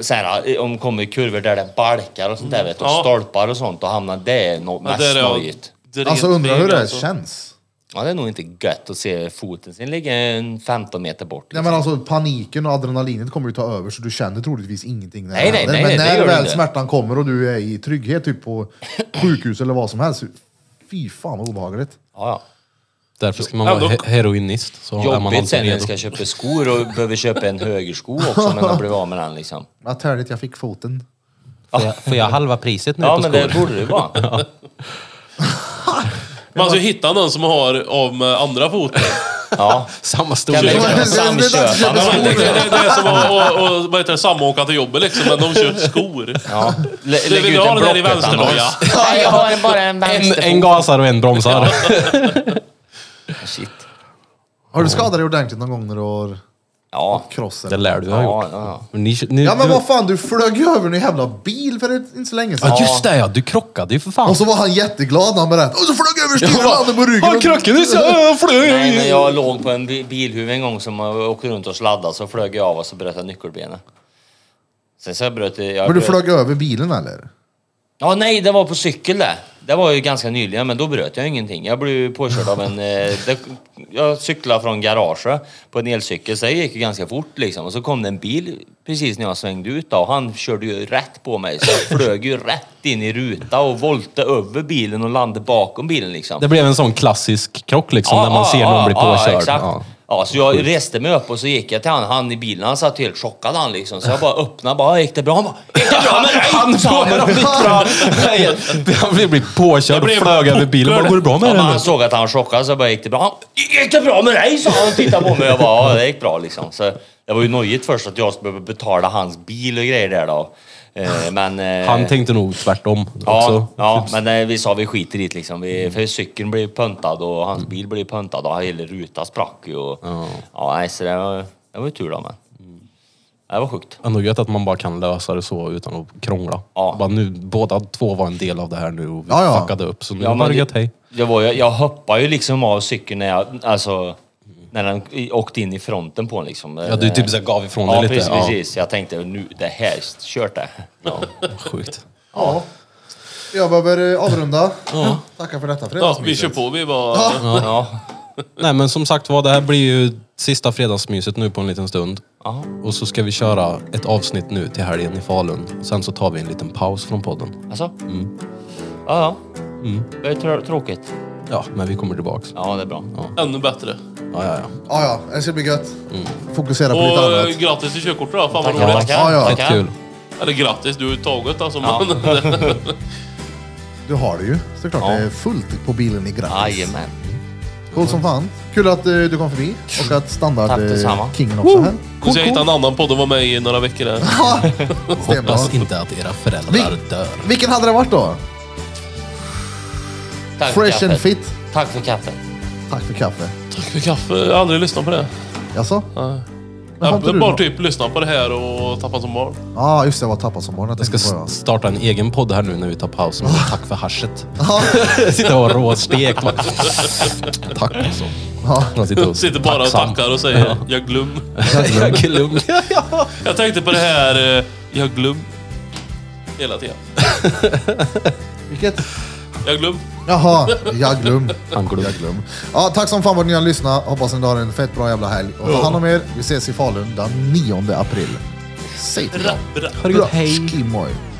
Så här, eh, om det kommer kurvor där det balkar och sånt där vet du, och Ja. stolpar och sånt och hamnar det är nog Ja, mest där är jag nojigt. dret Alltså undrar hur feg, det alltså. känns. Ja, det är nog inte gött att se foten sin ligga en 15 meter bort. liksom. Nej, men alltså, paniken och adrenalinet kommer ju ta över så du känner troligtvis ingenting när det Nej, nej, händer. nej, Men det när gör du väl inte. smärtan kommer och du är i trygghet typ på sjukhus eller vad som helst. Fy fan vad obehagligt. Ja, ja. Därför ska man Ja, vara då- he- heroinist. Så är man Jobbigt alltid sen när jag redo. ska köpa skor och behöver köpa en högersko också men jag blev av med den liksom. Vad törligt jag fick foten. Får, jag, får jag halva priset nu Ja, på men skor? det borde det vara. Man ska ju hitta någon som har av med andra foten. Ja. Samma Kan vi storlek. det- köpa det- samköpa? det- Ja, men någonting? Det det- det är som att och, och, vad heter det, samåka till jobbet liksom, men de kör skor. Ja. Lä- Du, lägg vill ut du ha en den där i Blocket-annons. vänsternoja? Nej, jag har bara en En, vänsterfot. en gasar och en bromsar. Shit. Har du skadat dig ordentligt någon gång när du har Ja. cross? Det eller? lär du ha Ja, gjort. ja, ja. Men Ni, ni, Ja men du, vad fan, du flög ju över en jävla bil för ett- inte så länge sedan. ja, just det ja, du krockade ju för fan. Och så var han jätteglad när han berättade. Och så flög jag över styret och landade på ryggen. Ja, krockade så jag Nej, men flög. jag låg på en bi- bilhuv en gång som jag åkte runt och sladdade så flög jag av och så bröt jag nyckelbenet. Sen så bröt jag... jag Men du bröt- flög över bilen eller? Ja, nej, det var på cykel det. Det var ju ganska nyligen, men då bröt jag ingenting. Jag blev ju påkörd av en... eh, det, jag cyklade från garaget på en elcykel, så det gick ju ganska fort liksom. Och så kom det en bil precis när jag svängde ut då, och han körde ju rätt på mig. Så jag flög ju rätt in i ruta och volte över bilen och landade bakom bilen liksom. Det blev en sån klassisk krock liksom, Ja, när man ja, ser ja, någon bli ja, påkörd. exakt. Ja. Ja, så jag reste mig upp och så gick jag till han, han i bilen, han satt helt chockad han liksom. Så jag bara öppnade, bara gick det bra? Han bara, gick det bra med dig? Han sa han. får- Han blev- blev påkörd och blev flög över bilen. Bara, Går det bra Ja, med men alltså, den? han såg att han var chockad så bara gick det bra. Han, gick det bra med dig? sa han och tittade på mig. Jag bara, ja det gick bra liksom. Så det var ju nojigt först att jag skulle behöva betala hans bil och grejer där då. Eh, Men, eh, Han tänkte nog tvärtom Ja, också. Mm. ja, men eh, vi sa vi skiter i det liksom. Vi, för cykeln blev puntad och hans bil blev puntad och hela rutan sprack ju. Och, ja. nej, så det var, det var ju tur då men. Mm. Det var sjukt. Ändå gött att man bara kan lösa det så utan att krångla. Ja. Bara nu, båda två var en del av det här nu och vi Ja, ja. fuckade upp. Så nu Ja, var det men gött, hej. Jag, var, ju- jag hoppade ju liksom av cykeln när jag, alltså, när den åkte in i fronten på en liksom. Ja, du typ så här gav ifrån dig Ja, lite. precis, Ja. precis. Jag tänkte nu, det här, kört det. Ja. Sjukt. Ja. Jag behöver eh, avrunda. Tackar för detta Ja, vi kör fredagsmyset. på. Vi bara... Ja. Nej men som sagt var, det här blir ju sista fredagsmyset nu på en liten stund. Ja. Och så ska vi köra ett avsnitt nu till helgen i Falun. Sen så tar vi en liten paus från podden. Alltså? Mm. Ja, ja. Det är trå- tråkigt. Ja, men vi kommer tillbaks. Ja, det är bra. Ännu bättre. Ja, ja, ja. Ja, ja, det ska bli gött. Mm. Fokusera på lite Och eh, annat. grattis till körkortet då. Fan vad Tackar, roligt. tackar. Ja, ja. Fett kul. Eller grattis, du är taget alltså. Ja. Men, Du har det ju såklart. Ja. Det är fullt på bilen i grann. Jajamän. Coolt som fan. Kul att eh, du kom förbi och att Tack detsamma. standardkingen också är här. Nu ska jag hitta en annan podd och vara med i några veckor där. Stenbra. Hoppas inte att era föräldrar Vi- dör. Vilken hade det varit då? Tack för Fresh and kaffet. fit. Tack för kaffet. Tack för kaffe. Tack för kaffe. Jag har aldrig lyssnat på det. Jaså? Men har Jag inte du har bara något? typ lyssnat på det här och tappat som barn. Ja, just det. Jag var tappad som barn. Jag Jag ska tänkte på det. s- starta en egen podd här nu när vi tar paus. som heter Tack för haschet. Ja. Sitta och råstekt. va? Tack alltså. Ja. Man sitter och Sitter bara och tacksam. tackar och säger jag glöm. Jag är lugn. Jag tänkte på det här eh, jag glöm. Hela tiden. Vilket? Jag glöm. Jaha, jag glöm. Han glöm. Jag glöm. Ja, tack som fan vad ni har lyssnat. Hoppas ni har en fett bra jävla helg. Och ta hand om er. Vi ses i Falun den 9 april. Säg till dem. Bra. Bra. Skimoj.